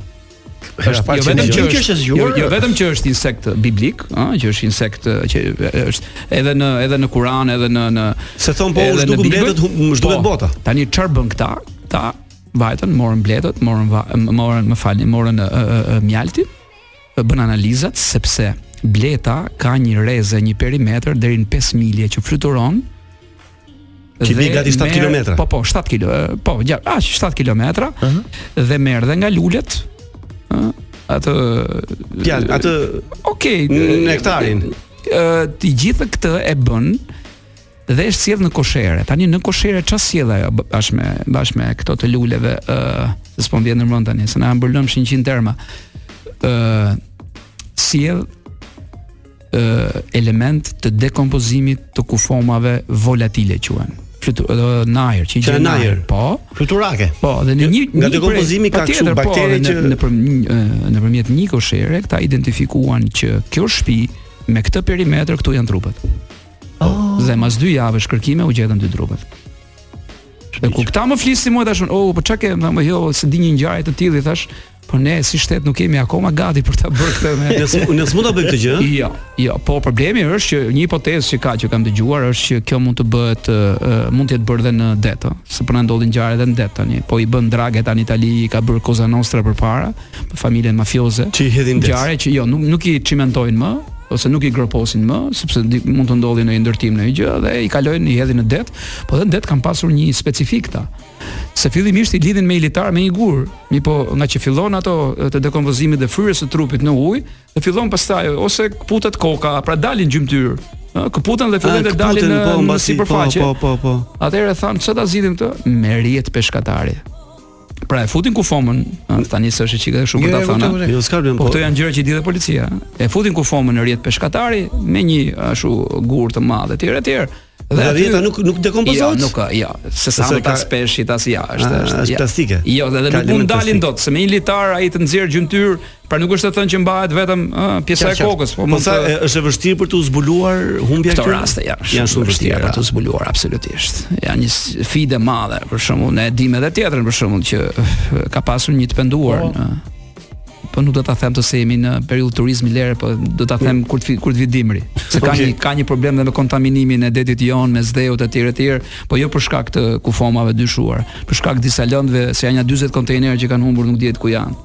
Është
jo vetëm që është jo, jo vetëm që është insekt biblik, ëh, që është insekt që është edhe në edhe në Kur'an, edhe në në
Se thon po është duke mbledhet, zhduket bota.
Po. Tani çfarë bën këta? Ta vajtën, morën bletët, morën morën, më falni, morën mjalti, bën analizat sepse bleta ka një reze, një perimetër deri në 5 milje që fluturon.
Që vjen gati 7 kilometra.
Po po, 7 kilo, po, gjatë, aq 7 kilometra. Uh -huh. Dhe merr dhe nga lulet, ë, atë
Pjan, atë
Okej,
okay, nektarin.
Ë, të gjithë këtë e bën dhe është sjellë në koshere. Tani në koshere çfarë sjell ajo bashkë me bashkë me këto të luleve ë, uh, se s'po vjen në mend tani, se na mbërlëm 100 terma. ë uh, sjell element të dekompozimit të kufomave volatile quhen. Flutur në ajër, që
gjen në ajër.
Po.
Fluturake.
Po, dhe në një po,
nga dekompozimi ka kështu bakteri
që nëpërmjet një koshere këta identifikuan që kjo shtëpi me këtë perimetër këtu janë trupet. Oh. Dhe mas dy javësh kërkime u gjetën dy trupet. Dhe kur këta më flisin mua tash, "Oh, po çka ke?" Thamë, "Po, "Jo, se di një ngjarje të tillë", i thash. Po ne si shtet nuk jemi akoma gati për ta bërë këtë me.
Ne s'mu- ne s'mund ta bëjmë këtë gjë, ëh?
Jo, jo, po problemi është që një hipotezë që ka që kam dëgjuar është që kjo mund të bëhet ë, ë, mund të jetë bërë edhe në det, ëh, se po na ndodhin ngjarje edhe në det tani. Po i bën Draghe tani Itali, i ka bërë Cosa Nostra përpara, për familjen mafioze.
Që i hedhin det.
Ngjarje që jo, nuk nuk i çimentojnë më ose nuk i groposin më, sepse di, mund të ndodhi në një ndërtim në një gjë dhe i kalojnë i hedhin në det, po dhe në det kanë pasur një specifik ta. Se fillimisht i lidhin me i litar me një gur, mi po nga që fillon ato e, të dekompozimit dhe fryrës së trupit në ujë, dhe fillon pastaj ose kputet koka, pra dalin gjymtyr, ë, këputen dhe fillojnë të dalin në,
po,
në
mbasi,
sipërfaqe.
Po, po, po, po.
Atëherë thanë, çfarë ta zgjidhim këtë? Me rjet peshkatari. Pra e futin kufomën, ë, tani s'është çika shumë për
Jo,
ta
jo,
thënë.
vërtet, vërtet. Jo, s'ka problem,
Po
po.
këto janë gjëra që i di dhe policia. E futin kufomën në rjet peshkatari me një ashtu gur të madh etj etj.
Dhe
aty-
rjeta nuk- nuk dekompozohet?
Jo, nuk, jo, se sa
Ose
më
ka-
tas peshit as ja, është,
Ah, është
ja.
plastike.
Jo, dhe, dhe
Ka
nuk mund
element
dalin
plastik.
dot, se me një litar ai të nxjerr gjymtyr, pra nuk është të thënë që mbahet vetëm ë, pjesa e
Qartë, qartë.
kokës, po
Po
mund
sa
të
e- është e vështirë për të zbuluar humbja
Këto
këtyre?
raste janë
janë shumë vështira
për të zbuluar absolutisht. Janë një sfidë e madhe, për shembull, ne e dimë edhe tjetrën për shembull që [laughs] eh, ka pasur një të penduar në po nuk do ta them të se jemi në periudhë turizmi lere, po do ta them kur të fi- kur të vi dimri. Se ka
Okay.
një ka një problem edhe me kontaminimin e detit jon me zdeut etj etj, po jo për shkak të kufomave dyshuar, për shkak disa lëndëve se janë ja 40 kontejnerë që kanë humbur nuk dihet ku janë.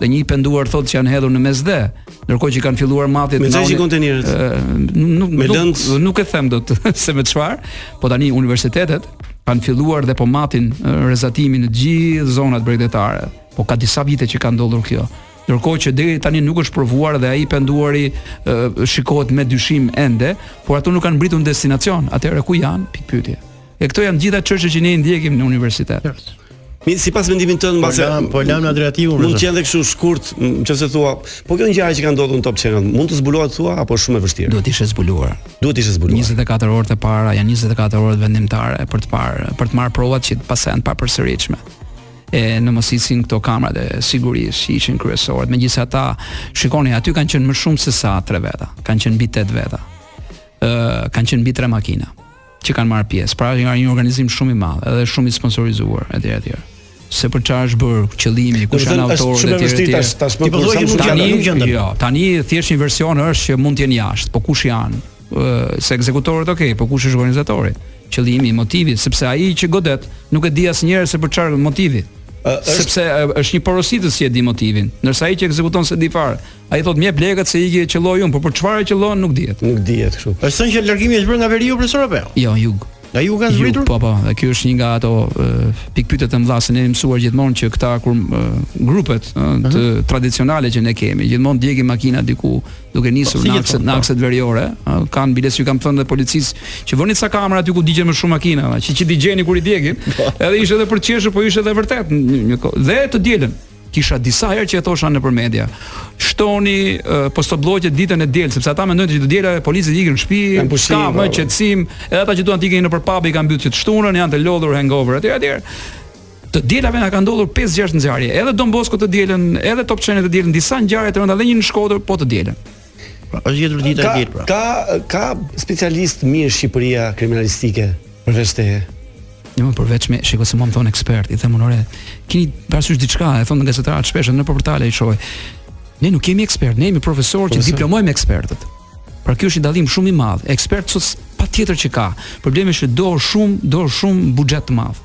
Dhe një i penduar thotë që janë hedhur në mesdhe, ndërkohë që kanë filluar matjet
Me çfarë
nauni-
që kontejnerët?
Ë, nuk
Me
nuk-
lëngë?
nuk e them dot [laughs] se me çfarë, po tani universitetet kanë filluar dhe po matin ë, rezatimin në të gjithë zonat bregdetare. Po ka disa vite që ka ndodhur kjo. Ndërkohë që deri tani nuk është provuar dhe ai penduari ë, shikohet me dyshim ende, por ato nuk kanë mbritur në destinacion. Atëherë ku janë? Pikë pyetje. E këto janë gjitha çështje që ne i ndjekim në universitet.
Mi sipas mendimit tënd mbase
lam- po lam në Adriatikun,
Mund
rrëzë.
të jenë dhe kështu shkurt, m, nëse thua, po kjo ngjarje që ka ndodhur në Top Channel, mund të zbulohet thua apo është shumë e vështirë?
Duhet ishte zbuluar.
Duhet ishte zbuluar.
24 orët e para janë 24 orët vendimtare për të parë për të marrë provat që pastaj janë të papërsëritshme. E në mos icin këto kamrat e sigurisë që ishin kryesorët. Megjithëse ata, shikoni, aty kanë qenë më shumë se sa tre veta. Kanë qenë mbi 8 veta. Ë kanë qenë mbi tre makina që kanë marrë pjesë. Pra nga një organizim shumë i madh, edhe shumë i sponsorizuar etj etj. Se për çfarë është bërë qëllimi,
Do të
kush janë
thënë, është
autorët
shumë e
etj
vështirë
etj.
tash- tashmë
Ti po
kur
thua
sa
që
më
mund
shumë
t'ja
Tani,
nuk gjendem.
jo, tani thjesht një version është që mund të jenë jashtë, po kush janë? Ë, se ekzekutorët, okay, po kush është organizatori? Qëllimi, motivi, sepse ai që godet nuk e di asnjëherë se për çfarë motivi.
është-
Sepse ë, është një porositës që e di motivin, ndërsa ai që ekzekuton se di fare. Ai thotë mjep lekët se i qelloi unë, por për çfarë e qellon nuk dihet.
Nuk dihet kështu.
Është thënë që largimi është bërë nga veriu profesor apo? jo?
Jo, jug.
Nga ju ka
Ju,
zbritur?
po po, dhe ky është një nga ato uh, pikpyetjet e mëdha se ne jemi mësuar gjithmonë që këta kur ë, grupet ë, të tradicionale që ne kemi, gjithmonë djegi makina diku duke nisur
Po, si
në
gjithmonë,
akset
po.
në akset veriore, ë, kanë biles ju kam thënë dhe policisë që vëni ca kamera aty ku digjen më shumë makina, ëh, që që digjeni kur i
[laughs]
djegin.
Po.
Edhe ishte edhe për të qeshur, po ishte edhe vërtet një, një kohë. Dhe të dielën kisha disa herë që e thosha nëpër media. Shtoni ë, po stoblloqet ditën e diel, sepse ata mendojnë që të diela policia ikin në shtëpi,
Kanë pushim,
s'ka më
po,
bravo.
qetësim, edhe ata që duan të ikin nëpër pub i kanë mbytur të shtunën, janë të lodhur hangover etj etj. Të dielave na kanë ndodhur 5-6 ngjarje, edhe Don Bosco të dielën, edhe Top Channel të dielën, disa ngjarje të rënda dhe një në Shkodër, po të dielën.
Po, Është gjetur dita e
Ka
ditë pra.
ka ka specialist mirë Shqipëria kriminalistike përveç teje.
Jo, më përveç me, shiko se mua më thon ekspert, i them unë, "Ore, keni parasysh diçka?" E thon gazetarët shpesh në portale i shoh. Ne nuk jemi ekspert, ne jemi profesorë që
Profesor.
diplomojmë ekspertët. Pra ky është një dallim shumë i madh. Ekspert sot s- patjetër që ka. Problemi është që do shumë, do shumë buxhet të madh.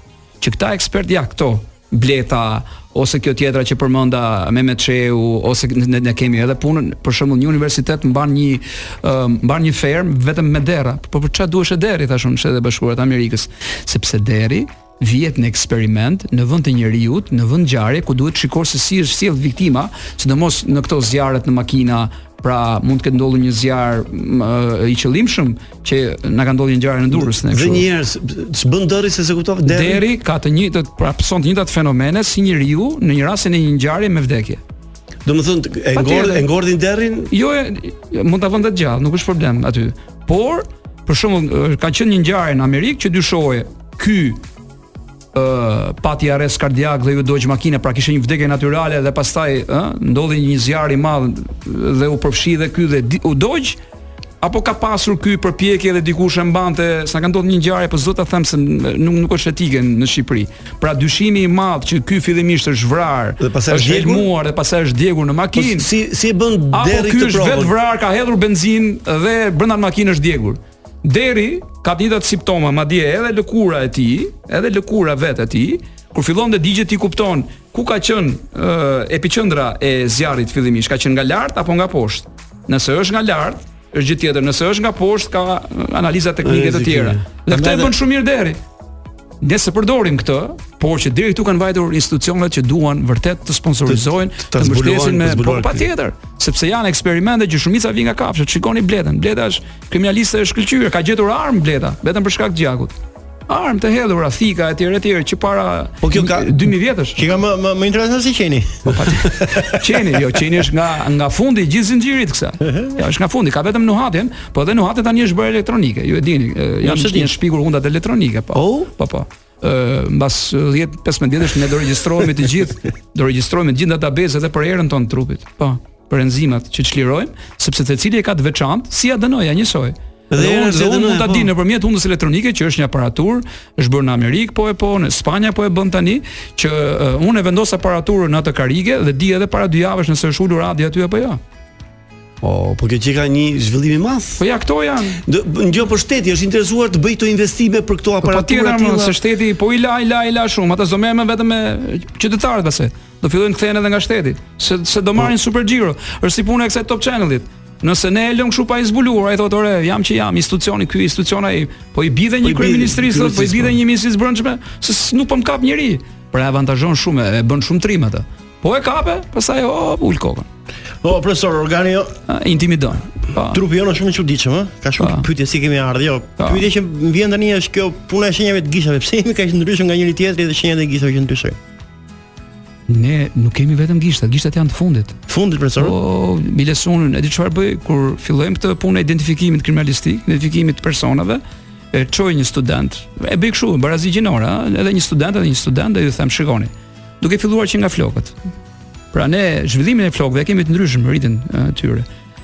Që këta ekspert ja këto bleta ose kjo tjetra që përmenda Mehmet Çeu ose ne, ne kemi edhe punën për shembull një universitet mban një uh, mban një ferm vetëm me derra. Po për çfarë duhesh e deri thashun në Shtetet e Bashkuara të Amerikës, sepse deri vjet në eksperiment në vend të njeriu, në vend ngjarje ku duhet shikosh se si është sjell viktima, sidomos në këto zjarret në makina, pra mund të ketë ndodhur një zjarr m, ë, i qëllimshëm që na ka ndodhur një ngjarje në Durrës ne
Dhe
kështu.
një herë ç'bën deri se se kuptova deri.
Deri ka të njëjtët, pra pëson të njëjtat fenomene si njeriu në një rastin e një ngjarje me vdekje.
Domethënë e ngordhin
Patjetër.
e ngordhin derin
Jo, e- mund ta vënë të gjallë, nuk është problem aty. Por për shembull ë, ka qenë një ngjarje në Amerikë që dyshoje ky ë pati arrest kardiak dhe ju dogj makina, pra kishte një vdekje natyrale dhe pastaj ë ndodhi një zjarr i madh dhe u përfshi dhe ky dhe di- u dogj apo ka pasur ky përpjekje dhe dikush e mbante, sa ka ndodhur një ngjarje, po zot ta them se nuk nuk është etike në Shqipëri. Pra dyshimi i madh që ky fillimisht është vrarë,
dhe pastaj
është djegur dhe pastaj është djegur në makinë.
Po, si si e bën deri këtë provë? Apo ky
është vetë vrarë, ka hedhur benzinë dhe brenda makinës është djegur. Deri ka të njëjtat simptoma, madje edhe lëkura e tij, edhe lëkura vetë e tij, kur fillon të digjet ti kupton ku ka qenë epiqendra e zjarrit fillimisht, ka qenë nga lart apo nga poshtë. Nëse është nga lart, është gjë tjetër, nëse është nga poshtë ka analiza teknike të tjera. Dhe këtë e bën shumë mirë deri. Nëse përdorim këtë, por që deri këtu kanë vajtur institucionet që duan vërtet të sponsorizojnë, të, të, të mbështesin me po patjetër, sepse janë eksperimente që shumica vijnë nga kafshët. Shikoni Bletën, Bleta është kriminaliste e shkëlqyer, ka gjetur armë Bleta, vetëm për shkak të gjakut armë të hedhura, thika etj etj që para
po kjo ka
2000 vjetësh.
Kjo ka më më, më intereson se si qeni. Po
qeni, jo, qeni është nga nga fundi i gjithë zinxhirit kësa. Ja, është nga fundi, ka vetëm nuhatin, po edhe nuhati tani është bërë elektronike. Ju e dini, janë janë shpikur hundat elektronike, po.
Oh?
Po po. Ë mbas 10-15 ditësh ne do regjistrohemi të gjithë, do regjistrohemi të gjithë databaset e për erën tonë trupit. Po, për enzimat që çlirojmë, sepse secili e ka të veçantë, si ADN-ja njësoj. Dhe, dhe unë, dhe unë mund ta di nëpërmjet hundës elektronike që është një aparatur, është bërë në Amerikë, po e po në Spanjë po e bën tani që uh, unë e vendos aparaturën në atë karige dhe di edhe para dy javësh nëse është ulur radi aty apo jo.
Oh, po kjo që ka një zhvillim i madh.
Po ja këto janë.
Ngjo po shteti është interesuar të bëjë këto investime për këto aparatura
të tilla. Po se shteti po i la i la i la shumë, ata s'do merren vetëm me qytetarët pastaj. Do fillojnë kthehen edhe nga shteti, se se do marrin po. super xhiro. Është si puna e kësaj Top Channelit. Nëse ne e lëm kështu pa i zbuluar, ai thotë, "Ore, jam që jam, institucioni ky, institucioni ai, po i bidhe një kryeministri, po i bidhe një ministri i brendshëm, se nuk po më kap njerëj." Pra e avantazhon shumë, e bën shumë trim atë. Po e kape, pastaj o ul kokën.
Po profesor, organi jo
intimidon.
Pa. Trupi jonë është shumë i çuditshëm, ë? Ka
Ah.
shumë pyetje si kemi ardhur, jo. Pyetja që më vjen tani është kjo puna e shenjave të gishave. Pse jemi kaq ndryshëm nga njëri tjetri dhe shenjat e gishave që ndryshojnë?
ne nuk kemi vetëm gishtat, gishtat janë të fundit.
Fundit profesor.
Po, Bilesun, e di çfarë bëj kur fillojmë këtë punë e identifikimit kriminalistik, identifikimit të personave, e çoj një student. E bëj kështu, barazi gjinore, edhe një student edhe një student, dhe ju them shikoni. Duke filluar që nga flokët. Pra ne zhvillimin e flokëve kemi të ndryshëm rritin e tyre.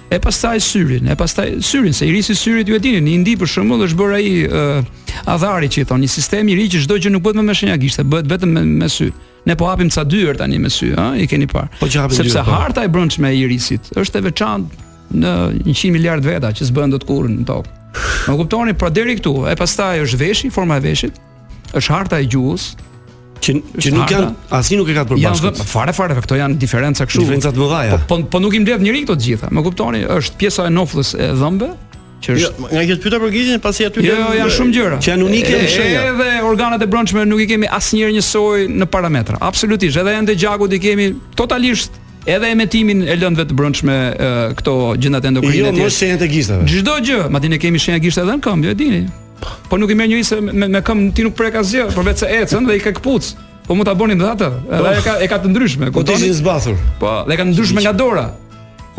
E pastaj syrin, e pastaj syrin se i risi syrit ju e dini, në Indi për shembull është bërë ai adhari që i thonë, një sistem i ri që çdo gjë nuk bëhet me shenja gishte, bëhet vetëm me, me sy. Ne po hapim ca dyer tani me sy, ë, i keni parë.
Po që hapim
Sepse dyr, harta e brendshme e irisit është e veçantë në 100 miliard veta që s'bën dot kurrë në tokë. Më kuptoni, pra deri këtu, e pastaj është veshi, forma e veshit, është harta e gjuhës,
që që nuk janë asnjë nuk e ka të përbashkët.
Janë fare fare, këto janë diferenca kështu.
Diferenca të mëdha.
Po, po po nuk i mbledh njëri këto të gjitha. Më kuptoni, është pjesa e noflës e dhëmbëve,
që është jo, nga kjo të pyeta për gishtin, pasi aty
jo, jo, janë shumë gjëra.
Që janë unike
në shenja. Edhe organet e brendshme nuk i kemi asnjëherë njësoj në parametra. Absolutisht, edhe ende gjakut i kemi totalisht edhe emetimin e lëndëve të brendshme këto gjëndat
jo, të
endokrine
tjera. Jo, mos shenjat e gishtave.
Çdo gjë, madje ne kemi shenja gishtave edhe në këmbë, e dini. Po nuk i merr njëri se me, me këmbë ti nuk prek asgjë, përveç se ecën dhe i ka kputc. Po mund ta bënim edhe atë. Edhe e ka e ka të ndryshme,
Po ti je zbathur.
Po, dhe ka të ndryshme nga dora.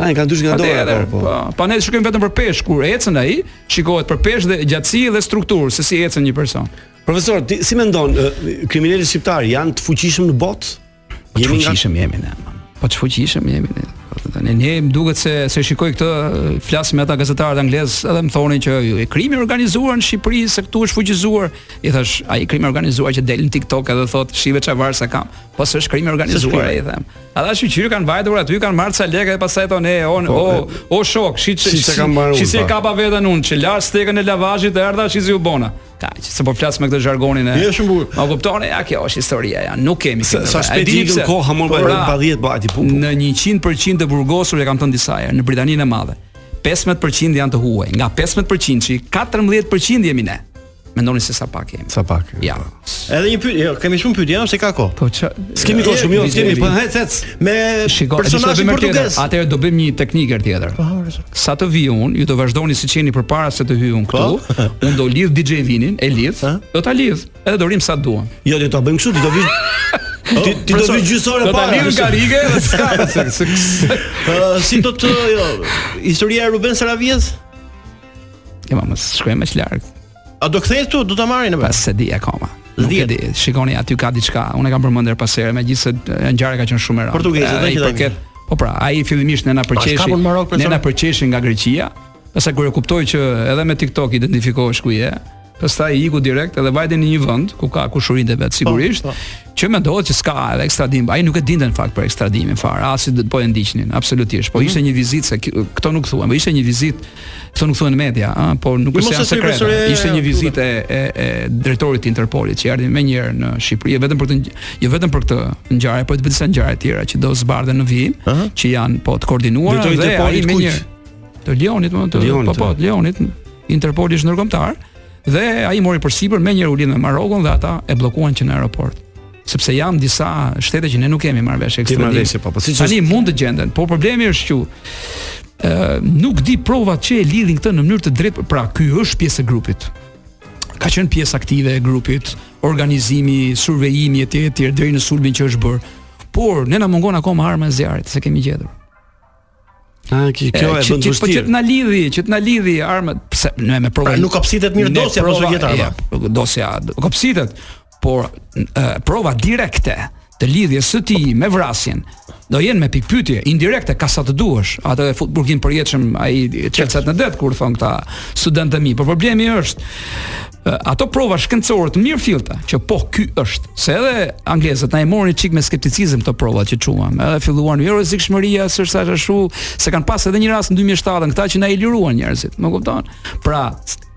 A, e ka ndryshme nga dora
po. Po, pa ne shikojmë vetëm për peshë kur ecën ai, shikohet për peshë dhe gjatësi dhe strukturë se si ecën një person.
Profesor, ti si mendon kriminalët shqiptar janë të fuqishëm në botë?
Po jemi nga fuqishëm jemi ne. Po të fuqishëm jemi ne. Po Tani ne më duket se se shikoj këtë flas me ata gazetarët anglez edhe më thonin që e krimi organizuar në Shqipëri se këtu është fuqizuar. I thash, ai krimi organizuar që del në TikTok edhe thot shive çfarë varsa kam. Po s'është krimi organizuar ai them. Ata shqyqyr kanë vajtur aty, kanë marrë ca lekë dhe pastaj thonë, Po, "E on, o, o shok, shi
si se kam marrë."
Si se po. kapa veten unë, që lar stekën e lavazhit e erdha shi si u bona. Kaq, se po flas me këtë zhargonin e.
Jo shumë bukur.
Ma kuptoni, ja kjo është historia ja, nuk kemi
këtë. Sa shpejt Po, pra. ikën koha më pa 10 bati
pu. Po, pra, Në 100% të burgosur e kam thënë disa herë në Britaninë e Madhe. 15% janë të huaj. Nga 15% që 14% jemi ne. Mendoni se sa pak jemi.
Sa pak.
Ja.
Edhe një pyetje, jo, kemi shumë pyetje, se ka kohë.
Po ç'a?
S'kemi kohë shumë, jo, s'kemi, po hec hec.
Me personazhin portugez.
Atëherë do bëjmë një teknikë er tjetër.
Po,
Sa të vi unë, ju do vazhdoni si qeni përpara se të hyj unë
Po.
këtu. [laughs] Unë do lidh DJ Vinin, e lidh, do ta lidh, edhe do rim sa duam.
Jo, do ta bëjmë kështu, do vi
Oh,
Ti ti do vi gjysore
para. Do ta lidh karige
[laughs]
dhe
s'ka. Si do të jo, historia e Ruben Saravies?
Ja, më shkojmë më lart.
A do kthehet këtu, do ta marrin apo?
Pas se di akoma. Nuk e di. Shikoni aty ka diçka. Unë e kam përmendur pas herë, megjithëse ngjarja ka qenë shumë e rëndë.
Portugezët do të përket.
Po pra, ai fillimisht ne na përqeshi.
Marok,
ne na përqeshi nga Greqia, Pastaj kur e kuptoi që edhe me TikTok identifikohesh ku je, pastaj i iku direkt edhe vajte në një vend ku ka kushurinë vet sigurisht, po, po. që mendohet që s'ka edhe ekstradim. Ai nuk e dinte në fakt për ekstradimin fare, as si po e ndiqnin, absolutisht. Po mm -hmm. ishte një vizitë se këto nuk thuan, po ishte një vizitë, këto nuk thuan në media, ëh, por nuk është janë sekrete. Ishte një vizitë e, e, e drejtorit të Interpolit që erdhi më njëherë në Shqipëri, vetëm për të jo vetëm për këtë ngjarje, por të disa ngjarje tjera që do zbardhen në vijim, uh -huh. që janë po të koordinuara
Drejtori
dhe ai më
një
të Leonit, më të po po, Leonit, Interpoli është ndërkombëtar dhe ai mori përsipër me një ulin me Marokon dhe ata e bllokuan që në aeroport sepse janë disa shtete që ne nuk kemi marrëveshje
ekstradim. Marrëveshje po, po siç
tani mund të gjenden, por problemi është që ë nuk di provat që e lidhin këtë në mënyrë të drejtë, pra ky është pjesë e grupit. Ka qenë pjesë aktive e grupit, organizimi, survejimi etj etj deri në sulmin që është bër. Por ne na mungon akoma arma e zjarrit, se kemi gjetur.
Ah, kjo kjo e bën vështirë.
Po që të na lidhi, që të na lidhi armët, pse me me provë.
Pra nuk kopsitet mirë dosja
prova jetarva. Ja, dosja kopsitet, por e, prova direkte të lidhjes së ti me vrasjen do jenë me pikpyetje indirekte ka sa të duash atë e fut burgim përjetshëm ai çelçat në det kur thon këta studentë mi por problemi është ato prova shkencore të mirë fillta që po ky është se edhe anglezët na e morën çik me skepticizëm këto prova që çuam edhe filluan jo rrezikshmëria s'është sa ashtu se kanë pas edhe një rast në 2007 këta që na e liruan njerëzit më kupton pra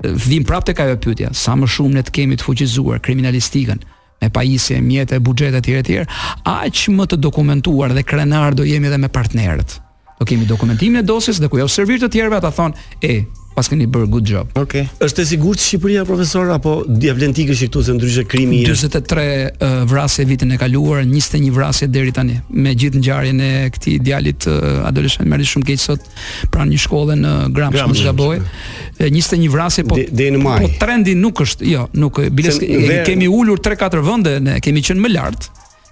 vim prapë tek ajo pyetja sa më shumë ne të kemi të fuqizuar kriminalistikën me pajisje, mjete, buxhete etj etj, aq më të dokumentuar dhe krenar do jemi edhe me partnerët. Do kemi dokumentimin e dosjes dhe ku jo servir të tjerëve ata thon, "E, pas keni bërë good job."
Okej. Okay. Është e sigurt Shqipëria profesor apo dia vlen tikësh këtu se ndryshe krimi
43 uh, vrasje vitin e kaluar, 21 vrasje deri tani. Me gjithë ngjarjen e këtij djalit uh, adoleshent më shumë keq sot pranë një shkolle në Gramsh, mos gaboj. 21 vrasje po
de, de në maj.
po trendi nuk është, jo, nuk biles se, e, ver... kemi ulur 3-4 vende, ne kemi qenë më lart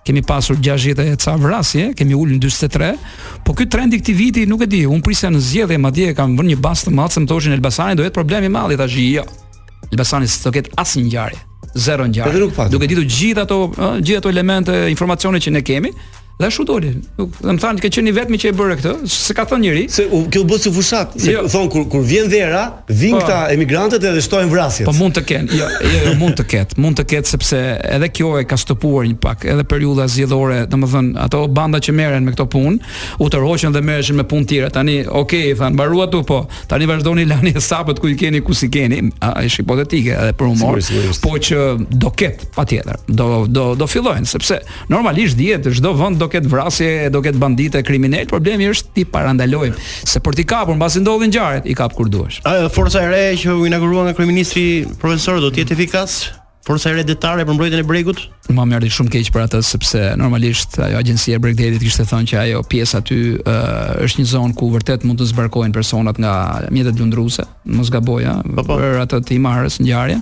kemi pasur 60 e ca vrasje, kemi ulur në 43, po ky trendi këtij viti nuk e di, un prisja në zgjedhje madje kam vënë një bazë të madhe, më thoshin Elbasani do jetë problem i madh, tash jo. Elbasani s'do ketë asnjë ngjarje, zero ngjarje. Duke ditur gjithë ato gjithë ato elemente, informacione që ne kemi, Dhe ashtu doli. Do të thonë që qeni vetëm që e bëre këtë, se ka thënë njëri.
Se u, kjo bëhet si fushat, se jo. Po. thon kur kur vjen vera, vin këta emigrantët edhe shtojnë vrasjet.
Po mund të kenë. Jo, jo, jo mund të ketë. Mund të ketë sepse edhe kjo e ka stopuar një pak, edhe periudha zgjedhore, domethënë ato banda që merren me këto punë, u tërhoqën dhe merreshin me punë tjera. Tani, okay, than, mbarua tu po. Tani vazhdoni lani e sapët ku i keni, ku si keni. Është hipotetike edhe për humor, sigurisht, sigurisht. po që do ket patjetër. Do do do fillojnë sepse normalisht dihet çdo vend do ketë vrasje, do ketë bandite, kriminal, problemi është ti parandalojmë, se për t'i kapur mbasi ndodhin ngjarjet, i kap kur duhesh.
A forca e re që u inaugurua nga kryeministri profesor do të jetë efikas? Forca e re detare për mbrojtjen e bregut?
Më më erdhi shumë keq për atë sepse normalisht ajo agjencia e Bregdetit kishte thënë që ajo pjesë aty uh, është një zonë ku vërtet mund të zbarkojnë personat nga mjetet lundruese, mos gaboja,
Po,
për atë të imarës ngjarje.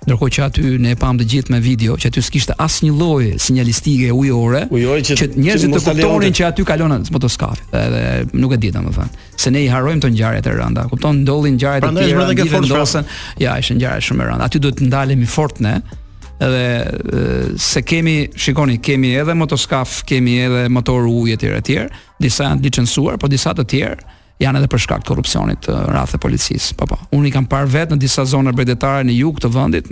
Ndërkohë që aty ne e pam të gjithë me video që aty s'kishte asnjë lloj sinjalistike ujore,
ujore që,
që njerëzit të kuptonin që aty kalon motoskafi. Edhe nuk e di domethënë se ne i harrojmë të ngjarjet e rënda. Kupton, ndodhin ngjarjet e tjera,
ndodhin vendosen.
Ja, është ngjarje shumë e rënda. Aty duhet të ndalemi fort ne edhe se kemi, shikoni, kemi edhe motoskaf, kemi edhe motor ujë etj etj. Disa janë licencuar, po disa të tjerë janë edhe për shkak të korrupsionit të rrafë policisë. Po po. Unë i kam parë vetë në disa zona bregdetare në jug të vendit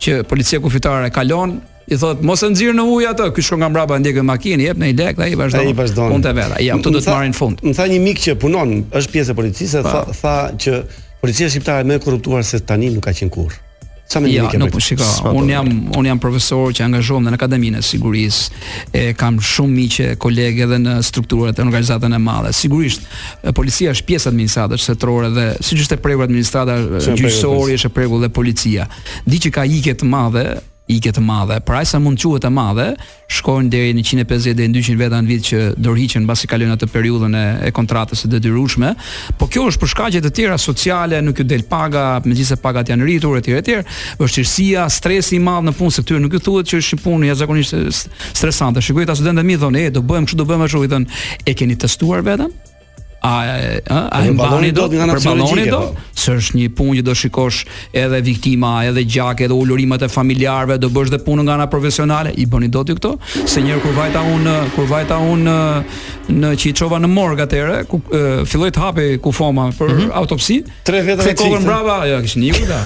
që policia kufitare kalon i thot mos e nxirr në ujë atë, ky shkon nga mbrapa ndjekën makinë, jep në i lek dhe ai vazhdon punën e vet. Ja, këtu do të marrin fund.
Më tha një mik që punon, është pjesë e policisë, tha tha që policia shqiptare më e korruptuar se tani nuk ka qenë kurrë.
Sa më ja, nuk po shiko. Un jam un jam profesor që angazhohem në Akademinë e Sigurisë. E kam shumë miqe, kolegë edhe në strukturat e organizatën e madhe. Sigurisht, policia është pjesë administratës shtetërore dhe siç është e prekur administrata gjyqësori, është e prekur dhe policia. Di që ka ikje të madhe ike të madhe. Pra sa mund quhet e madhe, shkojnë deri në 150 deri në 200 veta në vit që dorëhiqen mbasi kalojnë atë periudhën e, e kontratës së detyrueshme, po kjo është për shkaqe të tjera sociale, nuk ju del paga, megjithëse pagat janë rritur etj etj, vështirësia, stresi i madh në punë se këtyre nuk ju thuhet që është punë jashtëzakonisht stresante. Shikoj ta studentët mi thonë, "E do bëhem kështu, do bëhem ashtu", i thonë, "E keni testuar veten?" a a, a e mbani dot nga po. ana psikologjike do? Se është një punë që do shikosh edhe viktima, edhe gjak, edhe ulurimet e familjarëve, do bësh dhe punën nga ana profesionale, i bëni dot ju këto? Se një herë kur vajta un kur vajta un në Qiçova në morg atëre, ku uh, filloi të hapi kufoma për mm
Mhm.
-hmm. autopsi.
Tre veta
me kokën brava, ja kishin ikur ta.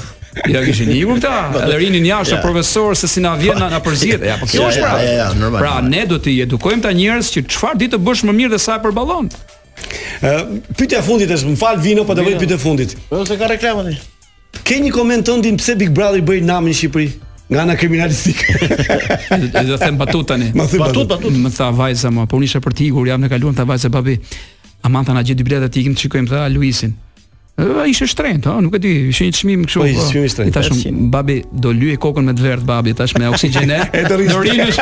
Ja kishin ikur
[laughs]
këta, edhe rinin jashtë ja. profesor se si na vjen na, na përzihet. Ja, po kjo është pra.
Ja, ja, ja, normal.
Pra ne do të edukojmë ta njerëz që çfarë ditë të bësh më mirë dhe sa e
[laughs]
përballon.
Ë pyetja e fundit është, më fal Vino, po ta bëj pyetjen e fundit.
Po se ka reklamën.
Ke një koment tëndin pse Big Brother bëri namin në Shqipëri? Nga ana kriminalistike.
Do them batut tani.
Batut, batut,
batut. Më tha vajza më, po unë isha për ti kur jam në kaluan tha vajza babi. Aman tha na gjej dy bileta ti ikim të shikojmë tha Luisin. Ë ishte shtrenjtë, ha, nuk e di, ishte një çmim kështu.
Po, ishte çmim i shtrenjtë.
I thash, babi do lyej kokën me të verdh babi, tash me oksigjenë.
[laughs] e të rish.
Dorinësh.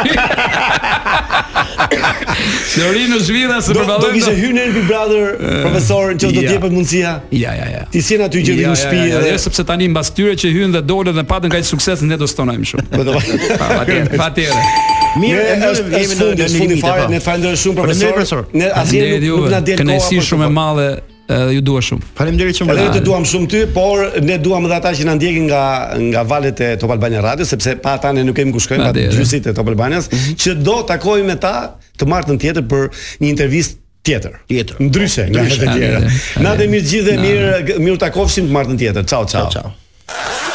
Dorin në zhvira se
do, do kishte hyrë në Big Brother profesor që do të jepet mundësia.
Ja, ja, ja.
Ti si aty që në shtëpi
edhe sepse tani mbas tyre që hyn dhe dolën dhe patën kaq sukses ne do stonojmë shumë.
Po,
Patjetër, patjetër.
Mirë, është jemi në në fundi fare, ne falenderoj shumë profesor. Ne asnjë nuk na del
kohë. Kënaqësi shumë e madhe ju dua shumë.
Faleminderit shumë.
Edhe të duam shumë ty, por ne duam edhe ata që na ndjekin nga nga valët e Top Albania Radio, sepse pa ata ne nuk kemi ku shkojmë, pa gjysit e Top Albanias, mm -hmm. që do takojmë me ta të martën tjetër për një intervistë tjetër.
Tjetër.
Ndryshe nga të tjera. Natë mirë gjithë dhe mirë mirë takofshim të martën tjetër. Ciao ciao. Ciao ciao.